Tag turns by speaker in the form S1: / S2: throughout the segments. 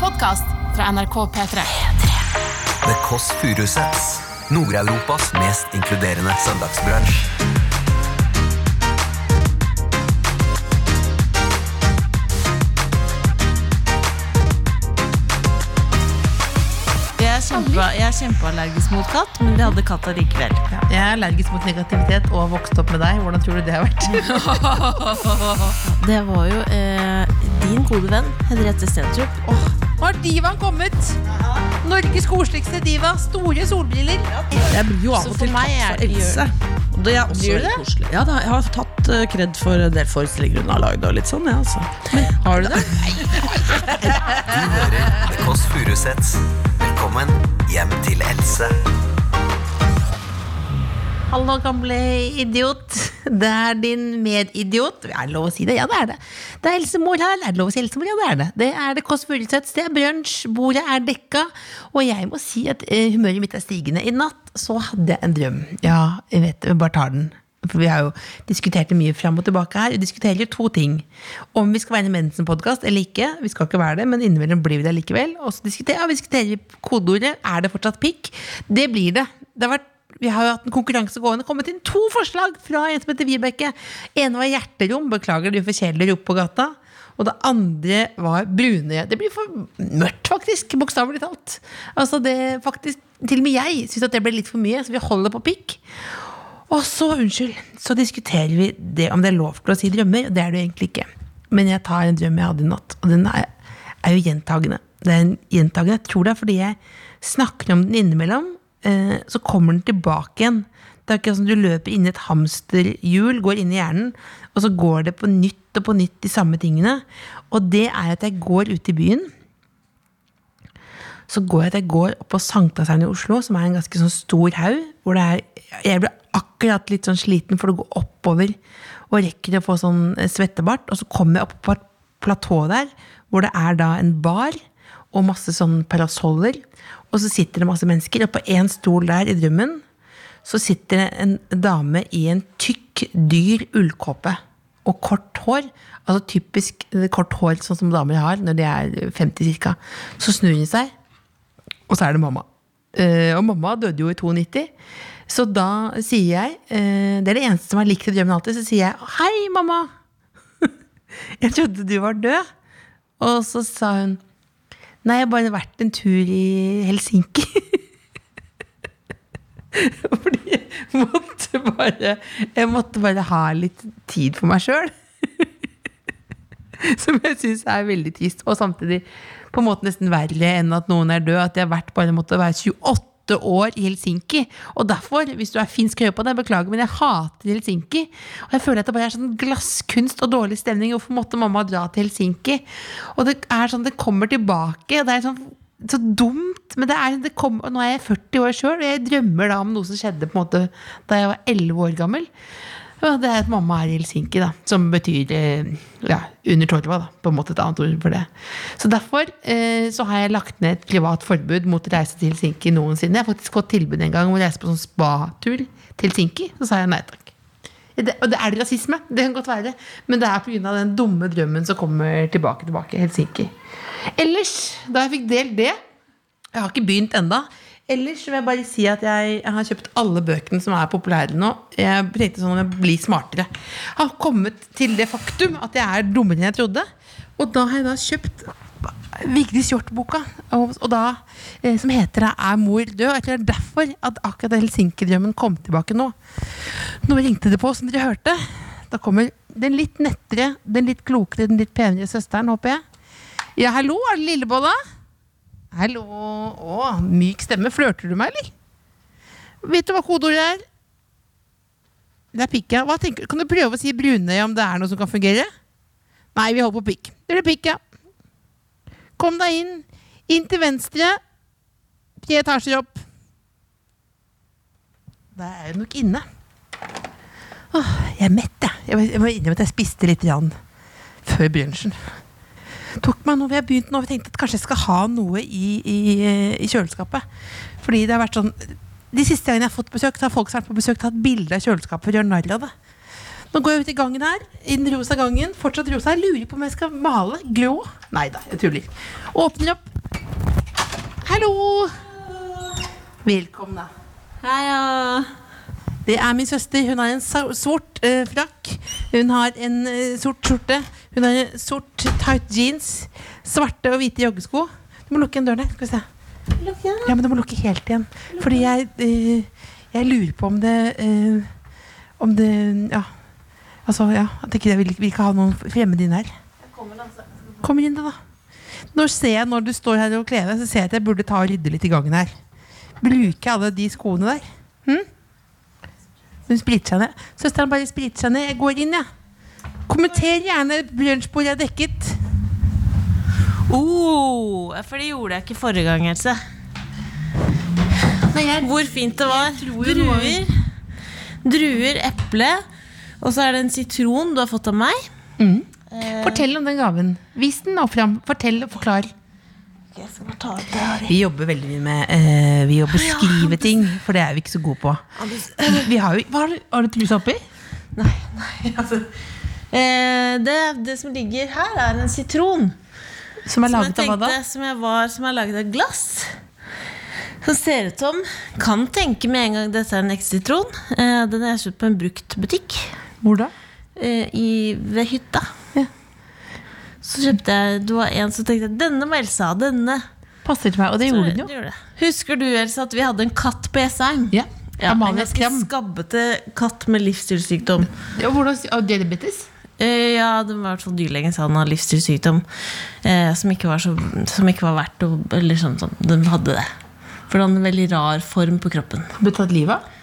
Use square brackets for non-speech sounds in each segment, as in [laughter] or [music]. S1: podkast fra NRK P3.
S2: The Kåss Furuseths. Nord-Europas mest inkluderende søndagsbransj.
S3: Jeg er, kjempe, jeg er kjempeallergisk mot katt, men vi hadde katt allikevel.
S4: Jeg er allergisk mot negativitet og har vokst opp med deg. Hvordan tror du det har vært?
S3: Det var jo eh, din gode venn Henriette Stentrup.
S4: Nå har divaen kommet! Norges koseligste diva. Store solbriller.
S5: Jeg blir jo av
S3: Så
S5: og
S3: for
S5: til
S3: meg er
S5: tatt for
S3: det-
S5: Else. Og det er også
S3: Gjør du
S5: veldig koselig. Ja, da, jeg har tatt eh, kred for en del forestillinger hun har lagd. Og litt sånn, ja, altså.
S4: Har du det?
S2: Du hører The Kåss Furuseths. Velkommen hjem til Else.
S4: Hallo, gamle idiot. [laughs] Det er din medidiot. Er det lov å si det? Ja, det er det. Det er Else Mor her. Er det lov å si Else Mor? Ja, det er det. Det er det Kåss Furuseths. Det er brunsj. Bordet er dekka. Og jeg må si at eh, humøret mitt er stigende. I natt så hadde jeg en drøm. Ja, jeg vet, jeg bare tar den. For vi har jo diskutert det mye fram og tilbake her. Vi diskuterer jo to ting. Om vi skal være en Mensen-podkast eller ikke. Vi skal ikke være det, men innimellom blir vi det likevel. Og så diskuterer, ja, vi diskuterer vi kodeordet. Er det fortsatt pikk? Det blir det. det har vært, vi har jo hatt en konkurranse gående. Kommet inn to forslag fra en som heter Vibeke. ene var hjerterom. Beklager, du får kjeler opp på gata. Og det andre var brune. Det blir for mørkt, faktisk. Bokstavelig talt. Altså det faktisk, Til og med jeg syns at det ble litt for mye, så vi holder på pikk. Og så, unnskyld, så diskuterer vi det om det er lov til å si drømmer. og Det er det jo egentlig ikke. Men jeg tar en drøm jeg hadde i natt, og den er, er jo gjentagende. Det er en gjentagende. Jeg tror det er fordi jeg snakker om den innimellom, eh, så kommer den tilbake igjen. Det er ikke sånn at du løper inn i et hamsterhjul, går inn i hjernen, og så går det på nytt og på nytt de samme tingene. Og det er at jeg går ut i byen, så går jeg til jeg går opp på Sankthanshaugen i Oslo, som er en ganske sånn stor haug. hvor det er, Jeg ble akkurat litt sånn sliten for å gå oppover og rekker å få sånn eh, svettebart. Og så kommer jeg opp på et platå der, hvor det er da en bar og masse sånn parasoller. Og så sitter det masse mennesker, og på én stol der i drømmen så sitter det en dame i en tykk, dyr ullkåpe og kort hår. Altså typisk eh, kort hår, sånn som damer har når de er 50 cirka. Så snur hun seg, og så er det mamma. Eh, og mamma døde jo i 92. Så da sier jeg eh, Det er det eneste som er likt i drømmen alltid. Så sier jeg 'Hei, mamma'. [laughs] jeg trodde du var død. Og så sa hun 'Nei, jeg har bare vært en tur i Helsinki'. [laughs] Fordi jeg måtte bare Jeg måtte bare ha litt tid for meg sjøl. [laughs] Som jeg syns er veldig trist. Og samtidig på en måte nesten verre enn at noen er død. At jeg har vært bare måtte være 28 år i Helsinki. Og derfor, hvis du er finsk høy på det, beklager, men jeg hater Helsinki. Og jeg føler at det bare er sånn glasskunst og dårlig stemning. Hvorfor måtte mamma dra til Helsinki? Og det er sånn, det kommer tilbake. Det er sånn så dumt, men det er, det kom, og nå er jeg 40 år sjøl, og jeg drømmer da om noe som skjedde på en måte da jeg var 11 år gammel. Ja, det er at mamma er i Helsinki, da, som betyr eh, ja, under torva. Da, på en måte et annet ord for det. Så derfor eh, så har jeg lagt ned et privat forbud mot å reise til Helsinki noensinne. Jeg har faktisk fått tilbud en gang om å reise på sånn spatur til Helsinki. Så sa jeg nei takk. Det, og det er det rasisme, det kan godt være. Men det er pga. den dumme drømmen som kommer tilbake tilbake. Helsinki. Ellers, da jeg fikk delt det Jeg har ikke begynt enda Ellers vil jeg bare si at jeg, jeg har kjøpt alle bøkene som er populære nå. Jeg tenkte sånn om jeg blir smartere. Jeg har kommet til det faktum at jeg er dummere enn jeg trodde. Og da har jeg da kjøpt Vigdis Hjorth-boka, og, og da, eh, som heter da 'Er mor død?' Jeg tror det er derfor at akkurat Helsinki-drømmen kom tilbake nå. Nå ringte det på, som dere hørte. Da kommer den litt nettere, den litt klokere, den litt penere søsteren, håper jeg. Ja, hallo, er det Lillebolla? Hallo. Å, myk stemme. Flørter du meg, eller? Vet du hva kodeordet er? Det er pikk, ja. Hva tenker du? Kan du prøve å si brunøye om det er noe som kan fungere? Nei, vi holder på pikk. Det blir pikk, ja. Kom deg inn. Inn til venstre. Tre etasjer opp. Der er det nok inne. Åh, jeg er mett, jeg. Jeg må- Jeg må innrømme at jeg spiste litt grann før brunsjen. Tok meg noe, vi har begynt nå, og tenkte at kanskje jeg skal ha noe i, i, eh, i kjøleskapet. Fordi det har vært sånn De siste gangene jeg har fått besøk, så har folk som har vært på besøk tatt bilde av kjøleskapet og gjør narr av det. Nå går jeg ut i gangen her, i den rosa gangen. Fortsatt rosa. Jeg lurer på om jeg skal male grå. Nei da, jeg tuller. Åpner opp. Hallo! Velkommen, da.
S3: Hei, ja.
S4: Det er min søster. Hun har en sa- sort eh, frakk. Hun har en eh, sort skjorte. Hun har en sort tight jeans. Svarte og hvite joggesko. Du må lukke igjen døren der. Skal vi se. Ja, men du må lukke helt igjen. Fordi jeg, eh, jeg lurer på om det eh, Om det Ja. Altså, ja. At ikke det vil, vil ikke ha noen fremmede inn her. Kommer inn, da. Nå ser jeg, når du står her og kler deg, så ser jeg at jeg burde ta og rydde litt i gangen her. Bruker jeg alle de skoene der? Hun spriter seg ned. Søsteren bare spriter seg ned. Jeg går inn, jeg. Kommenter gjerne brunsjbordet jeg dekket.
S3: Oh, for det gjorde jeg ikke forrige gang, Else. Hvor fint det var. Druer, druer, eple, og så er det en sitron du har fått av meg.
S4: Fortell om den gaven. Vis den nå fram. Fortell og forklar.
S3: Jeg skal bare ta ut det her.
S4: Vi jobber veldig mye med eh, Vi jobber skrive ting, for det er vi ikke så gode på. Vi har jo hva Har du, har du trusa oppi?
S3: Nei, nei, [laughs] altså. Eh, det, det som ligger her, er en sitron.
S4: Som
S3: Som
S4: er
S3: jeg
S4: laget av hva da?
S3: tenkte, som jeg var, som er laget av glass. Som ser ut som Kan tenke med en gang dette er en ekte sitron. Eh, den har jeg kjøpt på en bruktbutikk.
S4: Hvor da?
S3: eh, i, ved hytta. Så kjøpte jeg Det var en som tenkte jeg, denne må Elsa ha. Denne.
S4: Passer til meg. Og det
S3: Så
S4: gjorde den
S3: det
S4: jo.
S3: gjorde jeg. Husker du Elsa at vi hadde en katt på Jessheim?
S4: Ja.
S3: Ja, en
S4: Amalie
S3: ganske
S4: Skram.
S3: skabbete katt med livsstilssykdom.
S4: Ja, hvordan, og diabetes?
S3: Eh, ja, det var i hvert fall dyrlegen sa han hadde livsstilssykdom eh, som, ikke var så, som ikke var verdt å Eller sånn, sånn. Den hadde det. For den hadde en veldig rar form på kroppen.
S4: Ble tatt livet av?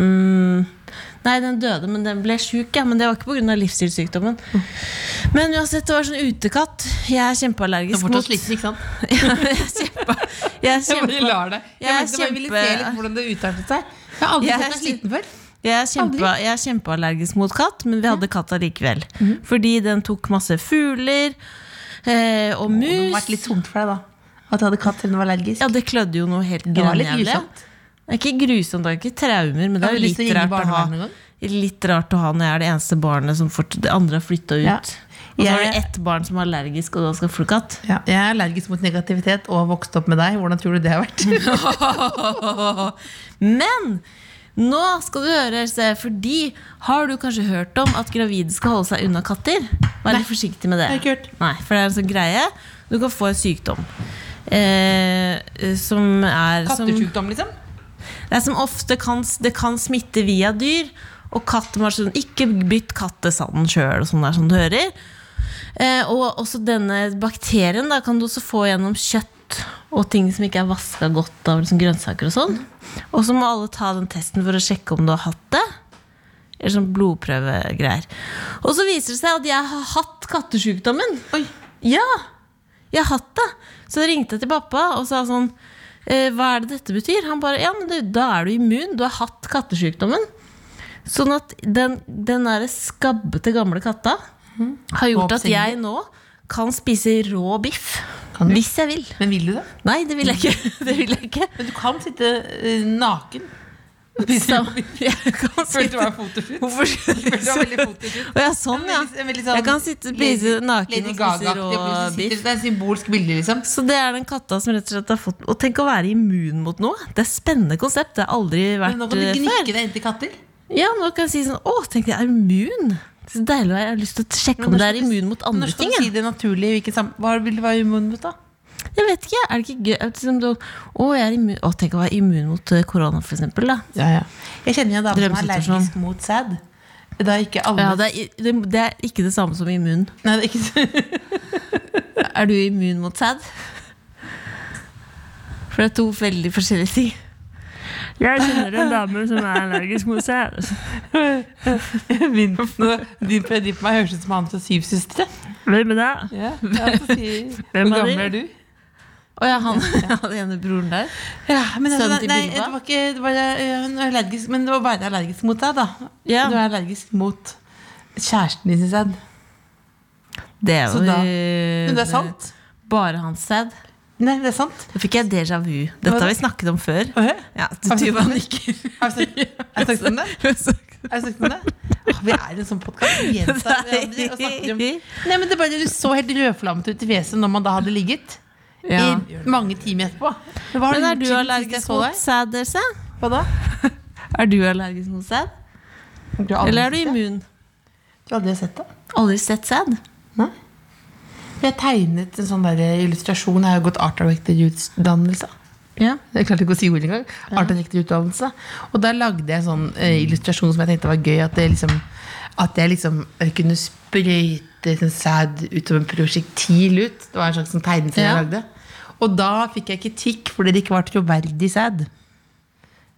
S3: Mm. Nei, den døde, men den ble sjuk. Ja. Men det var ikke pga. livsstilssykdommen. Men uansett, det var sånn utekatt. Jeg er
S4: Du
S3: kjempeallergisk
S4: får ta
S3: mot
S4: sliten, ikke sant?
S3: Ja, [laughs] jeg er kjempe, jeg er
S4: Jeg bare
S3: kjempe,
S4: lar det. Jeg,
S3: Jeg er
S4: mente bare ville
S3: kjempe-
S4: se litt hvordan det utartet seg. Jeg har aldri
S3: Jeg
S4: fått
S3: er
S4: meg sliten før.
S3: jeg er kjempe, jeg er kjempeallergisk mot katt, men vi hadde katt allikevel. Fordi den tok masse fugler eh, og
S4: Det må ha
S3: mus.
S4: vært litt tungt for deg, da. At du hadde katt selv om du var allergisk.
S3: Ja, det klødde jo noe helt
S4: det var litt
S3: grønnjævlig.
S4: grusomt.
S3: Det er ikke grusomt, det er ikke traumer, men det
S4: Har
S3: er
S4: du
S3: jo
S4: lyst
S3: litt
S4: til å ringe
S3: rart å ha.
S4: barnevernet en gang?
S3: Litt rart å ha når jeg er det eneste barnet som fort, det andre har flytta ut.
S4: Ja.
S3: Og så har
S4: Jeg-
S3: du ett barn som er allergisk, og da skal få katt.
S4: Ja, jeg er allergisk mot negativitet og har vokst opp med deg. Hvordan tror du det har vært?
S3: [laughs] Men nå skal du høre, Else, fordi har du kanskje hørt om at gravide skal holde seg unna katter? Vær litt forsiktig med det.
S4: det har jeg ikke hørt.
S3: Nei, for det er en sånn greie. Du kan få en sykdom. Eh, som er som,
S4: Kattesjukdom, liksom?
S3: Det er som ofte kan, det kan smitte via dyr. Og katter må være sånn, ikke bytt kattesanden sjøl, og sånn der som du hører. Eh, og også denne bakterien da, kan du også få gjennom kjøtt og ting som ikke er vaska godt av liksom grønnsaker og sånn. Og så må alle ta den testen for å sjekke om du har hatt det. Eller sånn blodprøvegreier. Og så viser det seg at jeg har hatt kattesjukdommen. Ja, jeg har hatt det. Så ringte jeg til pappa og sa sånn eh, Hva er det dette betyr? Han bare Ja, men du, da er du immun. Du har hatt kattesjukdommen. Sånn at den, den der skabbete gamle katta har gjort at jeg nå kan spise rå biff.
S4: Kan du?
S3: Hvis jeg vil.
S4: Men vil du det?
S3: Nei, det vil jeg ikke. [laughs] Det vil jeg ikke.
S4: Men du kan sitte eh, naken.
S3: [laughs]
S4: [laughs]
S3: Så, jeg kan sitte
S4: fotofritt?
S3: Hvorfor [laughs] Å ja, sånn, ja. Jeg kan sitte spise naken og spise rå biff.
S4: Det er symbolsk bilde, liksom.
S3: Så det er den katta som rett og slett har fått Og tenk å være immun mot noe. Det er et spennende konsept. Det har aldri vært
S4: Men nå kan du
S3: eh, før.
S4: gnikke deg inntil katter.
S3: Ja, nå kan jeg si sånn Å, tenk, jeg er immun. Så deilig å være. Jeg har lyst til å sjekke om det er immun mot andre ting.
S4: Når skal du
S3: jeg.
S4: si det naturlig? Hvilken sam Hva vil du være immun mot, da?
S3: Jeg vet ikke. Er det ikke gøy? Er det Liksom, du- å, jeg er immun. Å, tenk å være immun mot eh, korona, for eksempel. Da.
S4: Jeg kjenner jo en dame som er
S3: Drømmesituasjon.
S4: allergisk mot sæd. Da er ikke alle
S3: Ja, det, er, i- det, det er ikke det samme som immun.
S4: Nei, det er ikke så
S3: Er du immun mot sæd? For det er to veldig forskjellige ting. Jeg kjenner en dame som er allergisk mot sæd.
S4: Min, din predipp på meg høres ut som han fra Syv søstre.
S3: Hvem er det?
S4: Ja, jeg får si-
S3: Hvem er
S4: Hvor gammel
S3: de?
S4: er du?
S3: Å ja,
S4: [laughs]
S3: han, han ene broren der.
S4: Ja, men altså,
S3: Sønnen til
S4: nei, det
S3: Bilba?
S4: var ikke det var, øh, hun er allergisk, Men det var bare allergisk mot deg, da.
S3: Ja.
S4: Du er allergisk mot kjæresten din sin sæd.
S3: Det er
S4: Så
S3: jo
S4: da- Men det er sant.
S3: Bare hans sæd.
S4: Nei, det er sant.
S3: Da fikk jeg déjà vu. Dette har vi snakket om før.
S4: Åh, ja.
S3: Ja,
S4: Har
S3: du
S4: vi
S3: Tuva [laughs]
S4: snakket om det?
S3: nikker.
S4: Har jeg sagt- har jeg sagt om det?
S3: Hun har sagt-
S4: Har jeg sagt om det? Åh, vi er en sånn podkast.
S3: [laughs]
S4: Vi gjentar hverandre og snakker om Nei, men det bare, Du så helt rødflammet ut i fjeset når man da hadde ligget.
S3: Ja.
S4: I mange timer etterpå. Men Hva
S3: Men er
S4: gjort
S3: du
S4: siden sist jeg
S3: allergisk
S4: så
S3: mot
S4: deg?
S3: sæd, Else?
S4: Hva da?
S3: Er du allergisk mot sæd? Eller er du immun?
S4: Du har aldri sett det?
S3: Aldri sett sæd?
S4: Nei. Jeg tegnet en sånn der illustrasjon. Jeg har jo gått art director-utdannelse.
S3: Ja.
S4: Jeg klarte ikke å si ordet engang. Art director-utdannelse. Og da lagde jeg en sånn eh, illustrasjon som jeg tenkte var gøy. At, det liksom, at jeg liksom kunne sprøyte sånn sæd ut som en prosjektil ut. Det var en slags sånn tegning som jeg
S3: Ja.
S4: lagde. Og da fikk jeg kritikk fordi det ikke var troverdig sæd.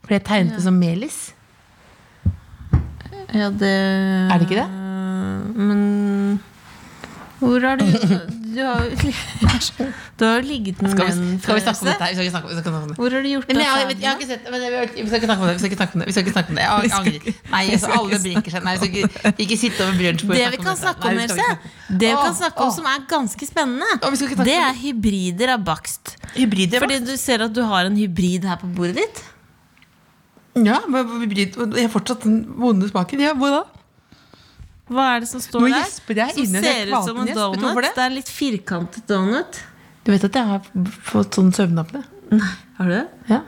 S4: Fordi jeg tegnet det som melis.
S3: ja, det
S4: Er det ikke det?
S3: Men hvor [laughs] har du Du har jo du har jo ligget med
S4: Skal vi,
S3: menn
S4: skal vi
S3: før,
S4: snakke
S3: Else.
S4: om dette? her? Vi skal ikke snakke, vi skal ikke snakke om det.
S3: Hvor har du gjort
S4: Men
S3: av
S4: jeg, jeg, jeg har
S3: sæden?
S4: ikke sett men jeg, vi skal ikke snakke om det. Vi skal ikke snakke om det. Vi skal ikke snakke om det. Jeg angrer. Nei, altså, alle brekker seg. Nei, vi skal ikke, ikke sitte over brunsjbordet
S3: Det vi kan snakke om, Else, det vi kan snakke om som er ganske
S4: Å, vi skal ikke
S3: spennende,
S4: snakke
S3: det
S4: om
S3: er hybrider av bakst.
S4: Hybrider,
S3: Fordi du ser at du har en hybrid her på bordet ditt.
S4: Ja, men hybrid Jeg har fortsatt den vonde smaken. Ja, hvor da?
S3: Hva er det som står
S4: Nå
S3: der?
S4: gjesper jeg
S3: som
S4: inni den
S3: ser ut som
S4: kvalpen
S3: en
S4: jeg gjesper.
S3: donut.
S4: Vet du hvorfor
S3: Det?
S4: det?
S3: er litt firkantet donut.
S4: Du vet at jeg har fått sånn søvnapne?
S3: Har du det?
S4: Ja.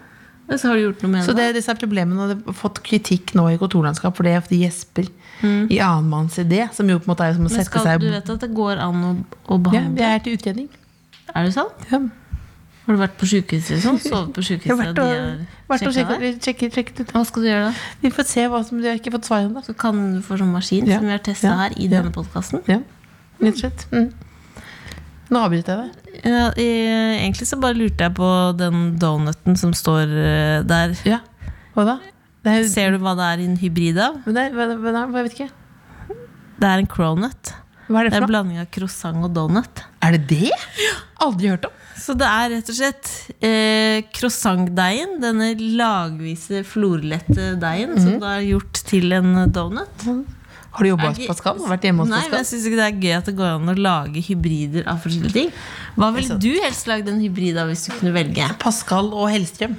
S3: Og så har du gjort noe med
S4: Så
S3: det?
S4: det, disse problemene har fått kritikk nå i kontorlandskap for det at de gjesper i annenmanns idé, som jo på en måte er som
S3: Mm.
S4: å
S3: Men
S4: sette
S3: skal,
S4: seg
S3: du vet at det går an å, å
S4: Ja,
S3: behandle?
S4: jeg er til utredning.
S3: Er det sant?
S4: Ja.
S3: Har du vært på sjukehus eller
S4: [laughs]
S3: sånn? Sovet på sjukehus?
S4: Jeg har vært
S3: og de
S4: og,
S3: har
S4: vært og
S3: sjekket deg?
S4: sjekket, sjekket, sjekket ut.
S3: Hva skal du gjøre da?
S4: Vi får se hva som De har ikke fått svar ennå.
S3: Så kan du få sånn maskin
S4: Ja.
S3: som vi har testa
S4: Ja.
S3: her i
S4: Ja.
S3: denne podkasten.
S4: Ja, rett og slett. Mm. Nå avbryter jeg deg.
S3: Ja, eh, egentlig så bare lurte jeg på den donuten som står eh, der.
S4: Ja. Hva da? Det er,
S3: Ser du hva det er i en hybrid av?
S4: men det er, hva, hva, hva- jeg vet ikke.
S3: Det er en cronut.
S4: Hva er
S3: Det er
S4: det for
S3: en
S4: noe?
S3: blanding av croissant og donut.
S4: Er det det? Aldri hørt om.
S3: Så det er rett og slett eh, croissantdeigen, denne lagvise, florlette deigen,
S4: Mhm.
S3: som du har gjort til en donut.
S4: Har du jobba
S3: Er
S4: hos
S3: det-
S4: Pascal? Vært hjemme hos
S3: Nei, men jeg
S4: Pascal?
S3: syns ikke det er gøy at det går an å lage hybrider av forskjellige ting. Hva ville du helst lagd en hybrid av hvis du kunne velge?
S4: Pascal og [laughs] Hellstrøm.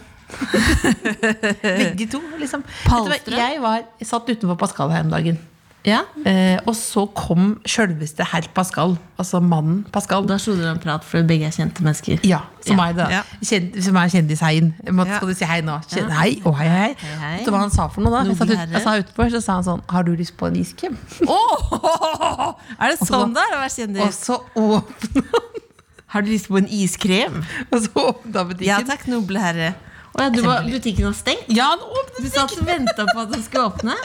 S4: Begge to, liksom. Vet du
S3: Palstrøm?
S4: hva, jeg var, jeg satt utenfor Pascal her om dagen.
S3: Ja,
S4: Eh, og så kom sjølveste herr Pascal, altså mannen Pascal.
S3: Da slo dere en prat, for begge er kjente mennesker.
S4: Ja, som er det.
S5: Ja.
S4: Kjend, som er kjendisheien. Må-
S5: Ja.
S4: Skal du si hei nå? Kjen, hei, å, hei,
S3: Hei,
S4: hei.
S3: hei.
S4: Vet du hva han sa for noe da? Jeg satt, ut,
S3: Nobelherre.
S4: jeg sa utenfor, så sa han sånn Har du lyst på en iskrem?
S3: Åh, er det sånn det er å være
S4: [laughs] Og
S3: kjendis?
S4: så åpna
S3: Har du lyst på en iskrem?
S4: [laughs] og så åpna
S3: Ja
S4: butikken.
S3: takk, noble herre. Å ja, du var, butikken var stengt?
S4: Ja, han åpnet
S3: Du satt og venta på at den skulle åpne?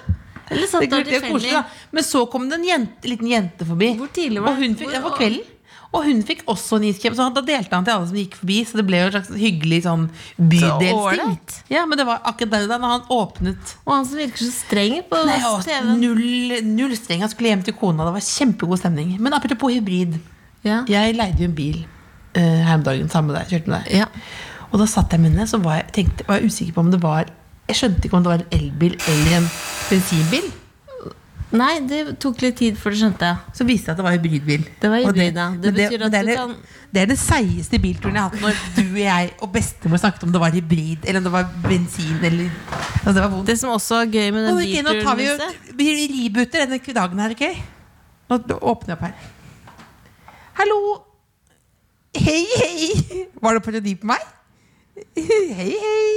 S3: Eller satt
S4: det
S3: der
S4: er koselig,
S3: tilfeldig?
S4: da. Men så kom det en jente, liten jente forbi.
S3: Hvor tidlig var
S4: og hun
S3: det?
S4: fikk,
S3: Hvor-
S4: det var kvelden. Og hun fikk også en iskrem, så han, da delte han til alle som gikk forbi. Så det ble jo en slags hyggelig sånn bydelsting.
S3: ålreit.
S4: Ja, men det var akkurat der da når han åpnet
S3: Og han som virker så streng på
S4: Nei, ja,
S3: TV-en.
S4: null, null streng. Han skulle hjem til kona. Det var kjempegod stemning. Men apropos hybrid.
S3: Ja.
S4: Jeg leide jo en bil eh, her om dagen sammen med deg. Kjørte med deg.
S3: Ja.
S4: Og da satt jeg med henne, så var jeg, tenkte, var jeg usikker på om det var Jeg skjønte ikke om det var en elbil eller en bensinbil.
S3: Nei, det tok litt tid før du skjønte.
S4: Så viste det at det var hybridbil.
S3: Det var
S4: Og
S3: hybrid, ja. Det
S4: men
S3: betyr
S4: men
S3: at
S4: det,
S3: du
S4: er
S3: kan-
S4: det- det er den seigeste bilturen jeg har hatt når du og jeg og bestemor snakket om det var hybrid eller om det var bensin eller altså, Det var vondt.
S3: Det som også var gøy med den
S4: Nå, ok, nå tar
S3: bilturen,
S4: vi jo
S3: Lise-
S4: vi rebooter denne dagen her, ok? Nå åpner jeg opp her. Hallo! Hei, hei! Var det parodi på meg? Hei, hei!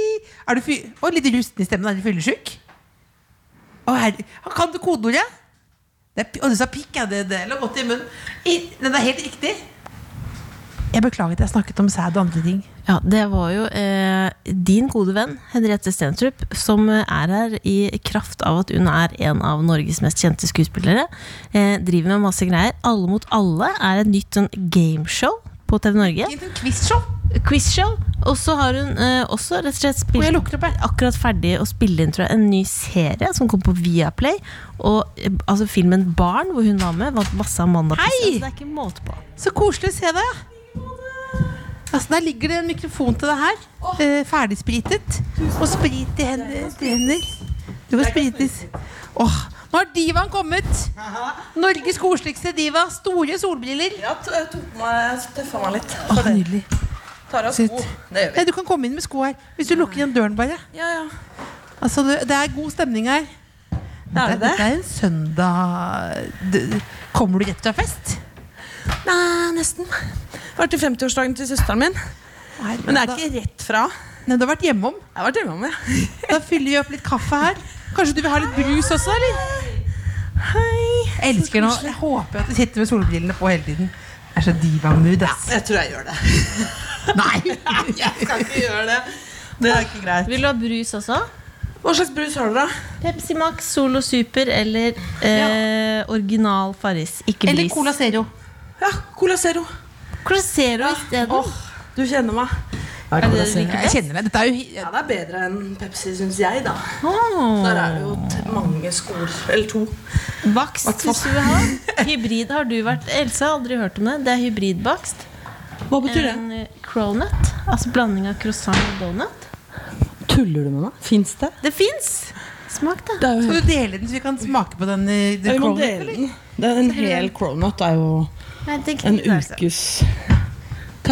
S4: Er du fy... Å, litt rusten i stemmen. Er du fyllesyk? Å, herre... Kan du kodeordet? Det er... pi- Å, du sa pikk, ja. Det, det lå godt i munnen. I... Den er helt riktig. Jeg beklager at jeg snakket om sæd og andre ting.
S3: Ja, det var jo eh, din gode venn Henriette Stensrup, som eh, er her i kraft av at hun er en av Norges mest kjente skuespillere. Eh, driver med masse greier. Alle mot alle er et nytt sånn gameshow på TV Norge.
S4: Gitt en quizshow.
S3: Quizshow. Og så har hun eh, også rett og slett
S4: Og jeg
S3: spilt
S4: lukker opp her.
S3: akkurat ferdig å spille inn tror jeg, en ny serie som kom på Viaplay. Og eh, altså filmen Barn, hvor hun var med, vant masse Amanda-priser.
S4: Hei!
S3: Så det er ikke måte på.
S4: Så koselig å se deg. Altså, der ligger det en mikrofon til deg her. Eh, ferdigspritet. Og sprit i hender. Til hender. Du kan sprites. Åh, nå har divaen kommet! Norges koseligste diva. Store solbriller.
S5: Ja, t- jeg tok meg, tøffa meg litt.
S4: Åh, nydelig.
S5: Tar av sko. Det gjør
S4: Ja, du kan komme inn med sko her. Hvis du lukker igjen døren, bare.
S5: Ja, ja.
S4: Altså, det, det er god stemning her.
S3: Det er det det?
S4: Dette er en søndag du, Kommer du rett fra fest?
S5: Nei, nesten. Var til 50-årsdagen til søsteren min. Men det er ikke rett fra.
S4: Nei, du har vært hjemom.
S5: Jeg har vært hjemme om, jeg.
S4: Da fyller vi opp litt kaffe her. Kanskje du vil ha litt brus også, eller?
S5: Hei.
S4: Jeg elsker nå. Jeg håper at du sitter med solbrillene på hele tiden. Det er så diva-mood, ass.
S5: Jeg tror jeg gjør det. [laughs]
S4: Nei!
S5: Jeg skal ikke gjøre det. Det er ikke greit.
S3: Vil du ha brus også?
S5: Hva slags brus har dere?
S3: Pepsi Max, Solo Super eller eh, original Farris. Ikke
S4: Eller
S3: Blis.
S4: Cola Zero.
S5: Ja, Cola Zero.
S3: Cola Zero isteden.
S5: Åh, du kjenner meg.
S3: er det det du liker
S4: Jeg
S3: best?
S4: kjenner det. Dette er jo
S5: Ja, det er bedre enn Pepsi, syns jeg, da.
S3: Åh.
S5: Der er det jo t- mange skor. Eller to.
S3: Bakst hvis du vil ha. Hybrid har du vært. Else har aldri hørt om det. Det er hybridbakst.
S5: Hva betyr det?
S3: En eh, cronut. Altså blanding av croissant og donut.
S5: Tuller du med meg? Fins det?
S3: Det fins! Smak, da.
S5: Det er jo
S4: Skal du dele den, så vi kan smake på den? eh, i-
S5: Ja, vi må
S4: Kronen,
S5: dele
S4: eller?
S5: den. Det er en hel cronut er jo
S3: Nei, det er ikke
S5: en
S3: det, altså.
S5: ukes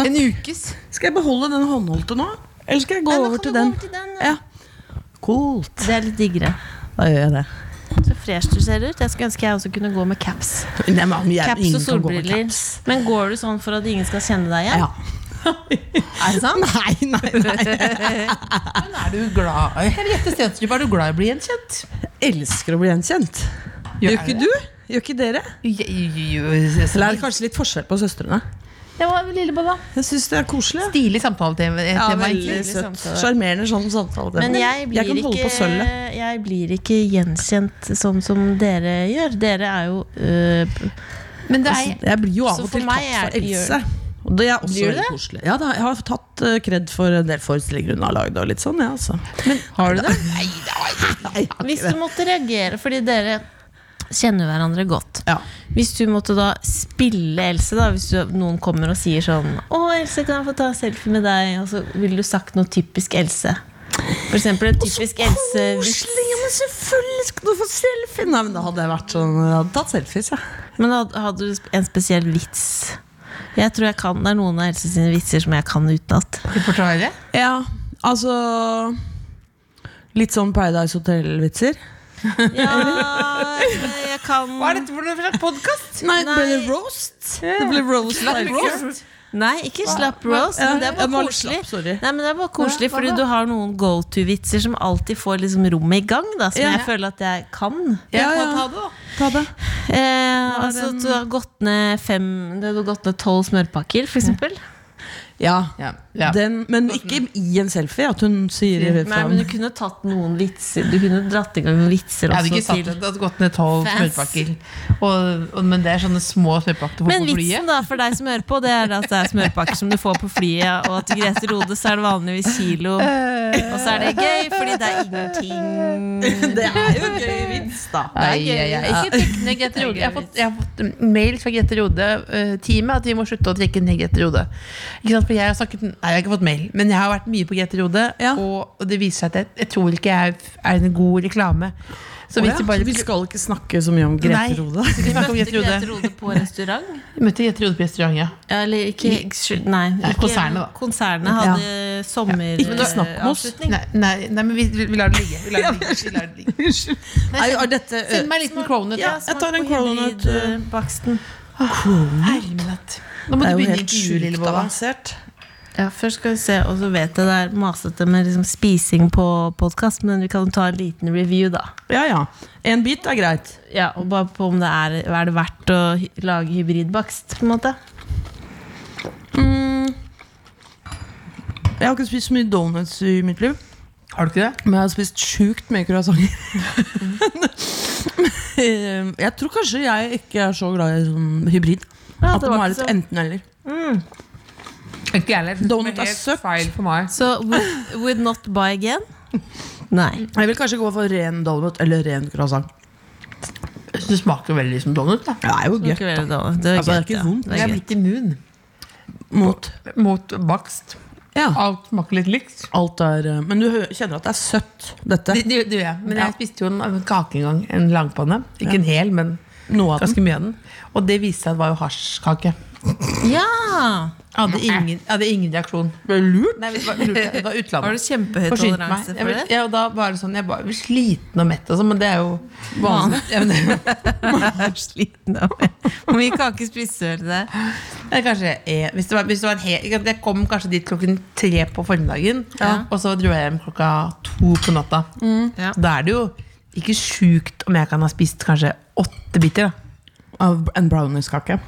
S4: En ukes.
S5: Skal jeg beholde den håndholdte nå? Eller skal jeg gå
S3: Nei, nå
S5: over
S3: kan
S5: til
S3: du gå
S5: den?
S3: over til den,
S5: Ja. Coolt.
S3: Det er litt diggere.
S5: Da gjør jeg det.
S3: Så fresh du ser ut. Jeg skulle ønske jeg også kunne gå med caps.
S5: Nei, men, jeg,
S3: Caps
S5: ingen
S3: og
S5: kan gå med
S3: solbriller.
S5: caps.
S3: Men går du sånn for at ingen skal kjenne deg igjen?
S5: Ja.
S3: Er det sant?
S5: [laughs] Nei, nei, nei.
S4: Men er du glad Henriette Stensrup, er du glad i å bli gjenkjent?
S5: Jeg elsker å bli gjenkjent. Gjør ikke du? Gjør ikke dere? Eller er det kanskje litt forskjell på søstrene?
S3: Det var Lillebolla.
S5: Jeg syns det er koselig. ja.
S4: Stilig samtaletema.
S5: Ja,
S4: tema,
S5: veldig
S4: egentlig.
S5: søtt.
S3: samtale.
S5: Sjarmerende sånn samtale.
S3: Men jeg blir,
S5: kan holde
S3: ikke,
S5: på sølvet.
S3: jeg blir ikke gjenkjent sånn som dere gjør. Dere er jo øh,
S4: Men det er,
S5: Altså, Jeg blir jo av
S3: Så
S5: og
S3: for
S5: til
S3: meg er-
S5: tatt for Else.
S3: gjør-
S5: Og det er også
S3: Blir du
S5: veldig koselig. Ja, da, jeg har tatt eh, kred for en del forestillinger hun har lagd. Og litt sånn, ja, altså.
S4: har du det?
S3: Hvis du måtte reagere, fordi dere kjenner hverandre godt.
S5: Ja.
S3: Hvis du måtte da spille Else, da hvis du, noen kommer og sier sånn 'Å, Else, kan jeg få ta en selfie med deg?' Og så ville du sagt noe typisk Else. For eksempel en typisk Else-vits.
S5: Koselig, ja, men selvfølgelig skal du få selfie! Nei, men da hadde jeg vært sånn, jeg hadde tatt selfies, jeg.
S3: Men had- hadde du sp- en spesiell vits? Jeg tror jeg kan, Det er noen av Else sine vitser som jeg kan utenat.
S4: Reportasje?
S5: Ja. altså Litt sånn Paradise Hotel-vitser.
S3: Ja, jeg
S4: Hva er
S3: kan
S4: dette for noe slags podkast?
S5: Nei, det ble
S3: Nei.
S5: roast. Det ble roast.
S4: roast?
S3: Nei, ikke slapp roast, men det er
S5: Ja, jeg var
S3: bare
S5: litt
S3: koselig.
S5: slapp, sorry.
S3: Nei, men det er bare koselig,
S4: hva
S3: fordi
S4: da?
S3: du har noen go to-vitser som alltid får liksom rommet i gang, da, som
S5: Ja.
S3: jeg føler at jeg kan.
S5: Ja,
S4: Jeg
S5: ja.
S4: kan ta det, da.
S5: Ta det.
S3: Eh, altså at du har gått ned fem Du har gått ned tolv smørpakker, for eksempel.
S5: Ja.
S4: Ja, ja.
S5: Den, men ikke i en selfie, at hun sier
S3: Nei,
S5: fra.
S3: men du kunne tatt noen vitser. Du kunne dratt i gang noen vitser
S4: Jeg
S3: også
S4: hadde
S5: Altså,
S4: ikke satt
S3: til
S4: det, det hadde gått ned tolv
S3: Fans.
S4: smørpakker. Og, og, men det er sånne små smørpakker på
S3: Men vitsen
S4: flyet.
S3: da, for deg som hører på, det er at det er smørpakker som du får på flyet, og til Grete Rode så er det vanligvis kilo. Og så er det gøy, fordi det er ingenting.
S5: [laughs] det er jo en gøy vits, da.
S4: Ai, ai, ai. [laughs] Ikke trekk ned Grete Rode. Jeg har fått, jeg har fått mail fra Grete Rode-teamet at vi må slutte å trekke ned Grete Rode. Ikke sant? For jeg har snakket, nei, jeg har ikke fått mail, men jeg har vært mye på Grete Rode,
S5: Ja.
S4: og, og det viser seg at jeg, jeg tror ikke jeg er en god reklame. Så
S5: Å
S4: hvis
S5: ja,
S4: vi
S5: så
S4: bare
S5: vi skal ikke snakke så mye om
S4: Nei.
S5: Grete Rode.
S4: Så vi snakker om
S3: Møtte
S4: Grete
S3: Grete
S4: Rode.
S3: Rode på restaurant?
S4: Vi Møtte Grete Rode på restaurant, ja.
S3: Ja, eller ikke ikke- Nei. ikke-
S4: konsernet, da.
S3: Konsernet hadde sommer...
S5: Ikke snakk om oss.
S3: avslutning.
S4: Nei, nei, nei men vi, vi vi lar det ligge. Vi lar det ligge. Vi lar det ligge.
S5: Nei, er dette
S4: Send meg en liten cronut.
S5: Ja,
S4: da.
S5: jeg tar en
S3: Smak på
S5: cronut.
S3: hybrid, eh, baksten.
S4: Herlighet. Nå må du
S5: Det er jo
S4: begynne
S5: helt
S4: intervjuet,
S5: sjukt
S4: Lillebolla.
S5: avansert.
S3: Ja, først skal vi se, og så vet jeg det er masete med liksom spising på podkast, men vi kan ta en liten review, da.
S5: Ja, ja. En bit er greit.
S3: Ja, og bare på om det er, er det verdt å hy- lage hybridbakst, på en måte.
S5: Jeg har ikke spist så mye donuts i mitt liv,
S4: Har du ikke det?
S5: men jeg har spist sjukt mye croissanter.
S3: Mm.
S5: Eh, [laughs] jeg tror kanskje jeg ikke er så glad i sånn hybrid.
S3: Ja,
S5: At
S3: det
S5: det må
S3: var ikke
S5: være litt
S3: så- Mm.
S5: enten-eller.
S4: Ikke jeg heller.
S5: Donut er søtt.
S4: feil for meg.
S3: Så would, would not buy again? Nei.
S5: Jeg vil kanskje gå for ren donut eller ren croissant.
S4: Det smaker veldig som donut. da
S5: Det er jo
S3: Det
S5: gøy.
S3: er, det også. det er,
S5: Altså, det er
S3: greit,
S5: ikke
S3: ja.
S5: vondt.
S3: Det er greit.
S4: blitt immun
S5: Mot.
S4: mot bakst.
S5: Ja.
S4: Alt smaker litt likt.
S5: Alt er eh, Men du hø- kjenner at det er søtt, dette?
S4: Det, det, det gjør jeg. Men jeg spiste jo en, en kake en gang. En langpanne. Ikke en hel, men
S5: Noe av den.
S4: ganske mye av den. Og det viste seg at det var jo hasjkake.
S3: Ja!
S4: Hadde ingen, hadde ingen reaksjon. Ble lurt? Nei, det var, lurt, [laughs] det var utlandet.
S3: Har du kjempehøy
S4: Forsynte
S3: toleranse
S4: meg.
S3: for
S4: Jeg ble-
S3: det?
S4: Ja, og da bare sånn, jeg var sliten og mett og sånn, men det er jo vanlig. Ja, men det,
S3: Sliten [laughs] av det. Hvor mye kake spiser du til det?
S4: Nei, kanskje eh, hvis det var, hvis det var en hel, ikke sant, Jeg kom kanskje dit klokken tre på formiddagen,
S3: Ja.
S4: og så dro jeg hjem klokka to på natta.
S3: Ja.
S4: Så da er det jo ikke sjukt om jeg kan ha spist kanskje åtte biter. da
S6: Av en brownieskake.